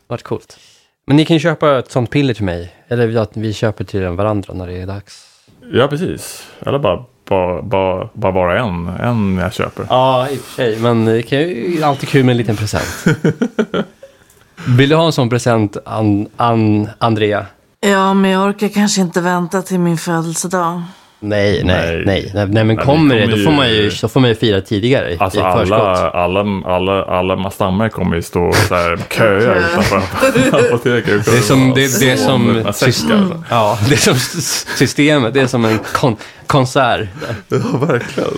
A: Varit coolt. Men ni kan ju köpa ett sånt piller till mig. Eller att vi köper till varandra när det är dags.
B: Ja, precis. Eller bara, bara, bara, bara vara en, en jag köper.
A: Ja, i och för sig. Men det kan ju alltid kul med en liten present. Vill du ha en sån present, an, an, Andrea?
C: Ja, men jag orkar kanske inte vänta till min födelsedag.
A: Nej, nej,
B: Nej.
A: nej. Nej, nej men
B: vi
A: kommer det,
B: kommer
A: då får, man ju,
B: ju-
A: så får man ju fira tidigare. i-
B: Alltså
A: i förskott.
B: alla, alla, alla, alla stammar kommer ju stå så här köer utanför apoteket.
A: Det är som, det, det är som,
B: Säckar.
A: sys- ja, det är som s- systemet, det är som en kon, konsert.
B: Ja, verkligen.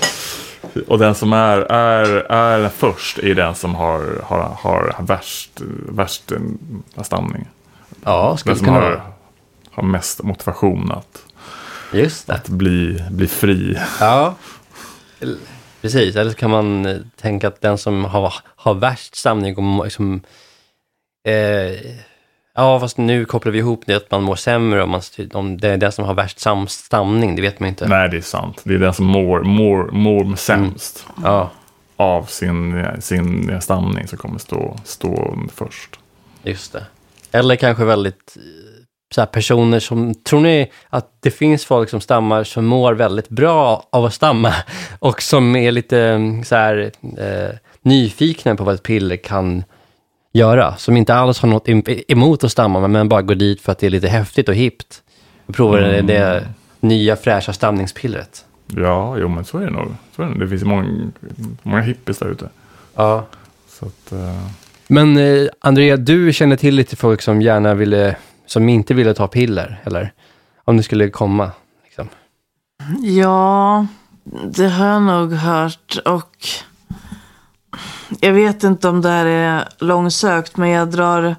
B: Och den som är, är, är först är den som har, har, har värst, värst eh, stamning.
A: Ja, skulle
B: Den som
A: kunna
B: har,
A: vara.
B: har mest motivation att
A: Just det.
B: bli, bli fri.
A: Ja. Precis, eller så kan man eh, tänka att den som har, har värst stamning och må- liksom, eh, Ja, fast nu kopplar vi ihop det att man mår sämre om, man, styr- om det är den som har värst sam- stamning, det vet man inte.
B: Nej, det är sant. Det är den som mår, mår, mår sämst
A: Ja,
B: av sin, eh, sin eh, stamning som kommer stå, stå först.
A: just det. Eller kanske väldigt eh, så här personer som, tror ni att det finns folk som stammar som mår väldigt bra av att stamma och som är lite mm, så här, eh, nyfikna på vad ett piller kan göra, som inte alls har något em- emot att stamma, men bara går dit för att det är lite häftigt och hippt. Och provar det, det nya fräscha stamningspillret.
B: Ja, jo men så är det nog. Så är det. nog. det finns ju många, många hippies där ute.
A: Ja.
B: Så att, eh,
A: Men eh, Andrea, du känner till lite folk som gärna ville, som inte ville ta piller, eller? Om det skulle komma, liksom.
C: Ja, det har jag nog hört. Och jag vet inte om det här är långsökt, men jag drar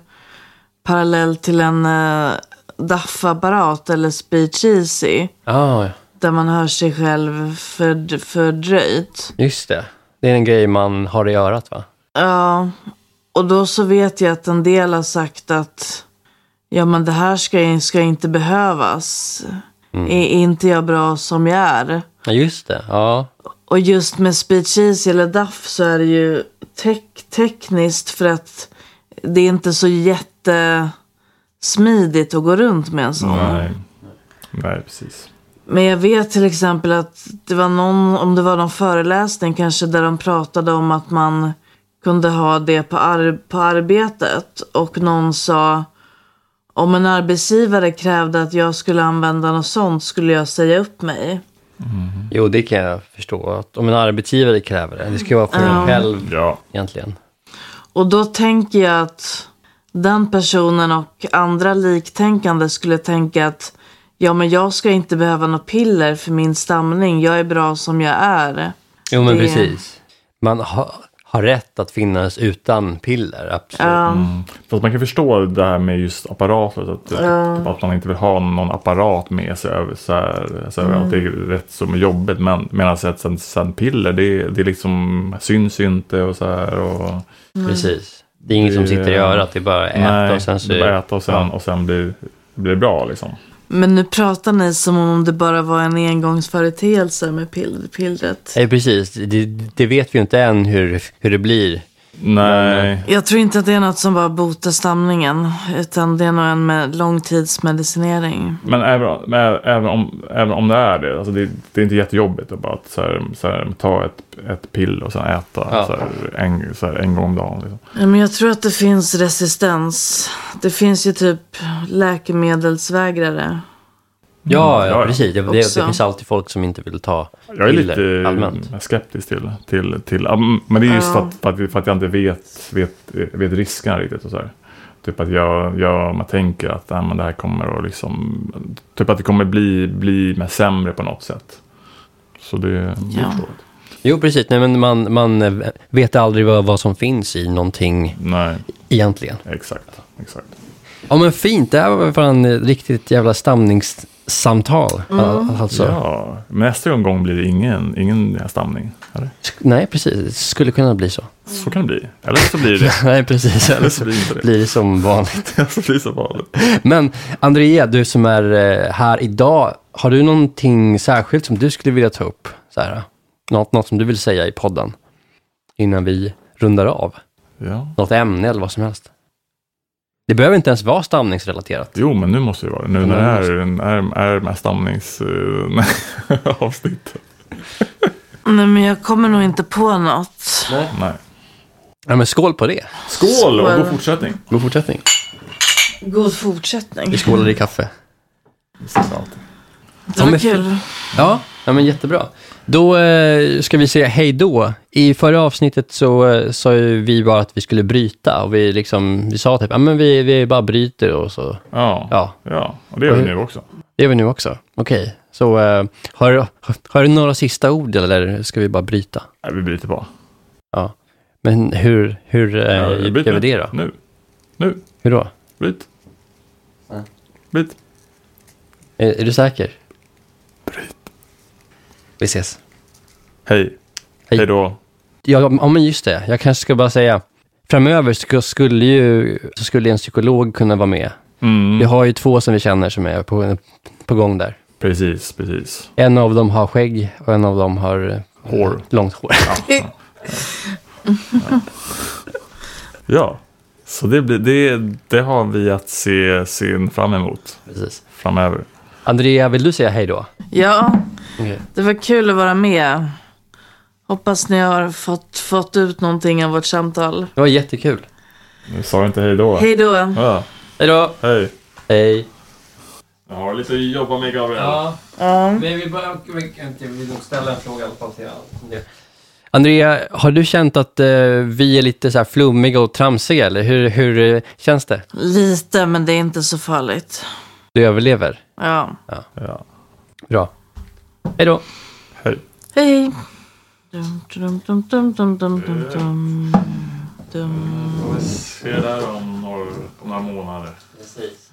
C: parallell till en eh, DAF-apparat eller speech easy.
A: Ah, Ja,
C: Där man hör sig själv för, fördröjt.
A: just det. Det är en grej man har i örat, va?
C: Ja, och då så vet jag att en del har sagt att ja, men det här ska, ska inte behövas. Är inte jag bra som jag är?
A: Ja, just det. Ja.
C: Och just med speech easy eller DAF så är det ju tek- tekniskt för att det är inte så jättesmidigt att gå runt med en sån.
B: nej. nej, precis.
C: Men jag vet till exempel att det var någon, om det var någon föreläsning kanske, där de pratade om att man kunde ha det på, ar- på arbetet. Och någon sa, om en arbetsgivare krävde att jag skulle använda något sånt skulle jag säga upp mig.
A: Jo, det kan jag förstå. Att om en arbetsgivare kräver det. Det ska ju vara för en själv,
B: Ja,
A: egentligen.
C: Och då tänker jag att den personen och andra liktänkande skulle tänka att ja, men jag ska inte behöva något piller för min stamning. Jag är bra som jag är.
A: Jo, men
C: Det-
A: precis. Man har, har rätt att finnas utan piller, absolut.
C: Ja.
B: Fast man kan förstå det här med just apparater. så Att, typ att man inte vill ha någon apparat med sig. Över, så här, så här, att det är rätt som jobbigt. Men medan ett sen, sen piller, det, det liksom syns ju inte och så här. Och,
C: Mm.
A: Precis. Det är inget som
B: Det-
A: sitter i örat, det är bara äta
B: nej,
A: och sen så...
B: det är bara äta och sen,
A: Ja.
B: och sen blir, blir det bra liksom.
C: Men nu pratar ni som om det bara var en engångsföreteelse med pill- pillret.
A: Nej, precis. Det, det vet vi ju inte än hur, hur det blir.
B: Nej,
C: Jag tror inte att det är något som bara botar stamningen. Utan det är nog en med långtidsmedicinering.
B: men även, men även, om, även om det är det, alltså det, det är inte jättejobbigt att bara att så här, så här, ta ett, ett pill och sen äta
A: Ja.
B: så här, en, så här, en gång om dagen. Liksom.
C: Ja, Men jag tror att det finns resistens. Det finns ju typ läkemedelsvägrare.
A: Ja,
B: Mm. ja,
A: ja,
B: ja.
A: precis. Det, det, det
C: Också.
A: finns alltid folk som inte vill ta
B: Jag är
A: piller
B: lite eh,
A: allmänt.
B: skeptisk till, till, till ja, mm, men det är just
C: Ja.
B: för att- för, att, för att jag inte vet, vet, vet riskerna riktigt. Och så här. Typ att jag, jag man tänker att äh, men det här kommer att liksom, typ att det kommer bli, bli med sämre på något sätt. Så det, det
C: Ja.
B: förstår jag.
A: Jo, precis. Nej, men man, man eh, vet aldrig vad, vad som finns i någonting
B: Nej,
A: egentligen.
B: exakt. exakt.
A: Ja, men fint. Det här var fan eh, riktigt jävla stamningssamtal. Al- Alltså.
B: Mm. Ja, men nästa gång blir det ingen, ingen stamning. Eller?
A: Sk- Nej, precis. Det skulle kunna bli så.
B: Så kan det bli. Eller så blir det
A: Nej, precis. Eller
B: så blir det inte det.
A: blir det som vanligt.
B: så blir det så farligt.
A: Men Andrea, du som är eh, här idag, har du någonting särskilt som du skulle vilja ta upp? Så här, eh, något, något som du vill säga i podden innan vi rundar av?
B: Ja.
A: Något ämne eller vad som helst? Det behöver inte ens vara stamningsrelaterat.
B: Jo, men nu måste det vara det. Nu när det här eh, är, är med stamningsavsnitt.
C: Nej, men jag kommer nog inte på något.
B: Nej.
A: Ja, men skål på det.
B: Skål och god
C: Skål.
B: fortsättning.
A: God fortsättning.
C: God fortsättning.
A: Vi skålar i kaffe.
C: Det var
A: men-
C: kul.
A: Ja, ja men jättebra. Då eh, ska vi säga hej då. I förra avsnittet så eh, sa ju vi bara att vi skulle bryta och vi, liksom, vi sa typ att men vi, vi bara bryter och så.
B: Ja. ja.
A: Ja,
B: och det gör vi nu också.
A: det är vi nu också. Okej, så eh, har, har du några sista ord eller ska vi bara bryta?
B: Nej, vi bryter bara.
A: Ja, men hur, hur eh,
B: Ja, vi
A: gör vi det
B: nu.
A: då?
B: Nu. Nu.
A: Hur då?
B: Bryt. Bryt.
A: Är, är du säker?
B: Bryt.
A: Vi ses.
B: Hej.
A: Hej.
B: Hej då.
A: Ja, ja, men just det. Jag kanske ska bara säga, framöver sk- skulle ju så skulle en psykolog kunna vara med. Vi
B: Mm.
A: har ju två som vi känner som är på, på gång där.
B: Precis, precis.
A: En av dem har skägg och en av dem har eh,
B: Hår.
A: långt hår.
B: Ja, så det, blir, det, det har vi att se, se fram emot
A: Precis.
B: framöver.
A: Andrea, vill du säga hej då?
C: Ja, det var kul att vara med. Hoppas ni har fått, fått ut någonting av vårt samtal.
A: Det var jättekul.
B: Nu sa jag inte hej då.
C: Hej då.
B: Ja,
A: Hej då!
B: hej.
A: Hej.
B: Jag har lite att jobba med Gabriel.
C: Ja.
A: men vi, bara, vi, vill nog ställa en fråga i alla fall till Andrea, har du känt att eh, vi är lite så här flummiga och tramsiga, eller hur, hur eh, känns det?
C: Lite, men det är inte så farligt.
A: Du överlever?
C: Ja.
B: Ja,
A: Bra. Hej då!
B: hej.
C: Hej. Dum, dum, dum, dum, dum, dum, dum, dum. Dum.
B: Vi ses där om några, om några månader.
A: Precis.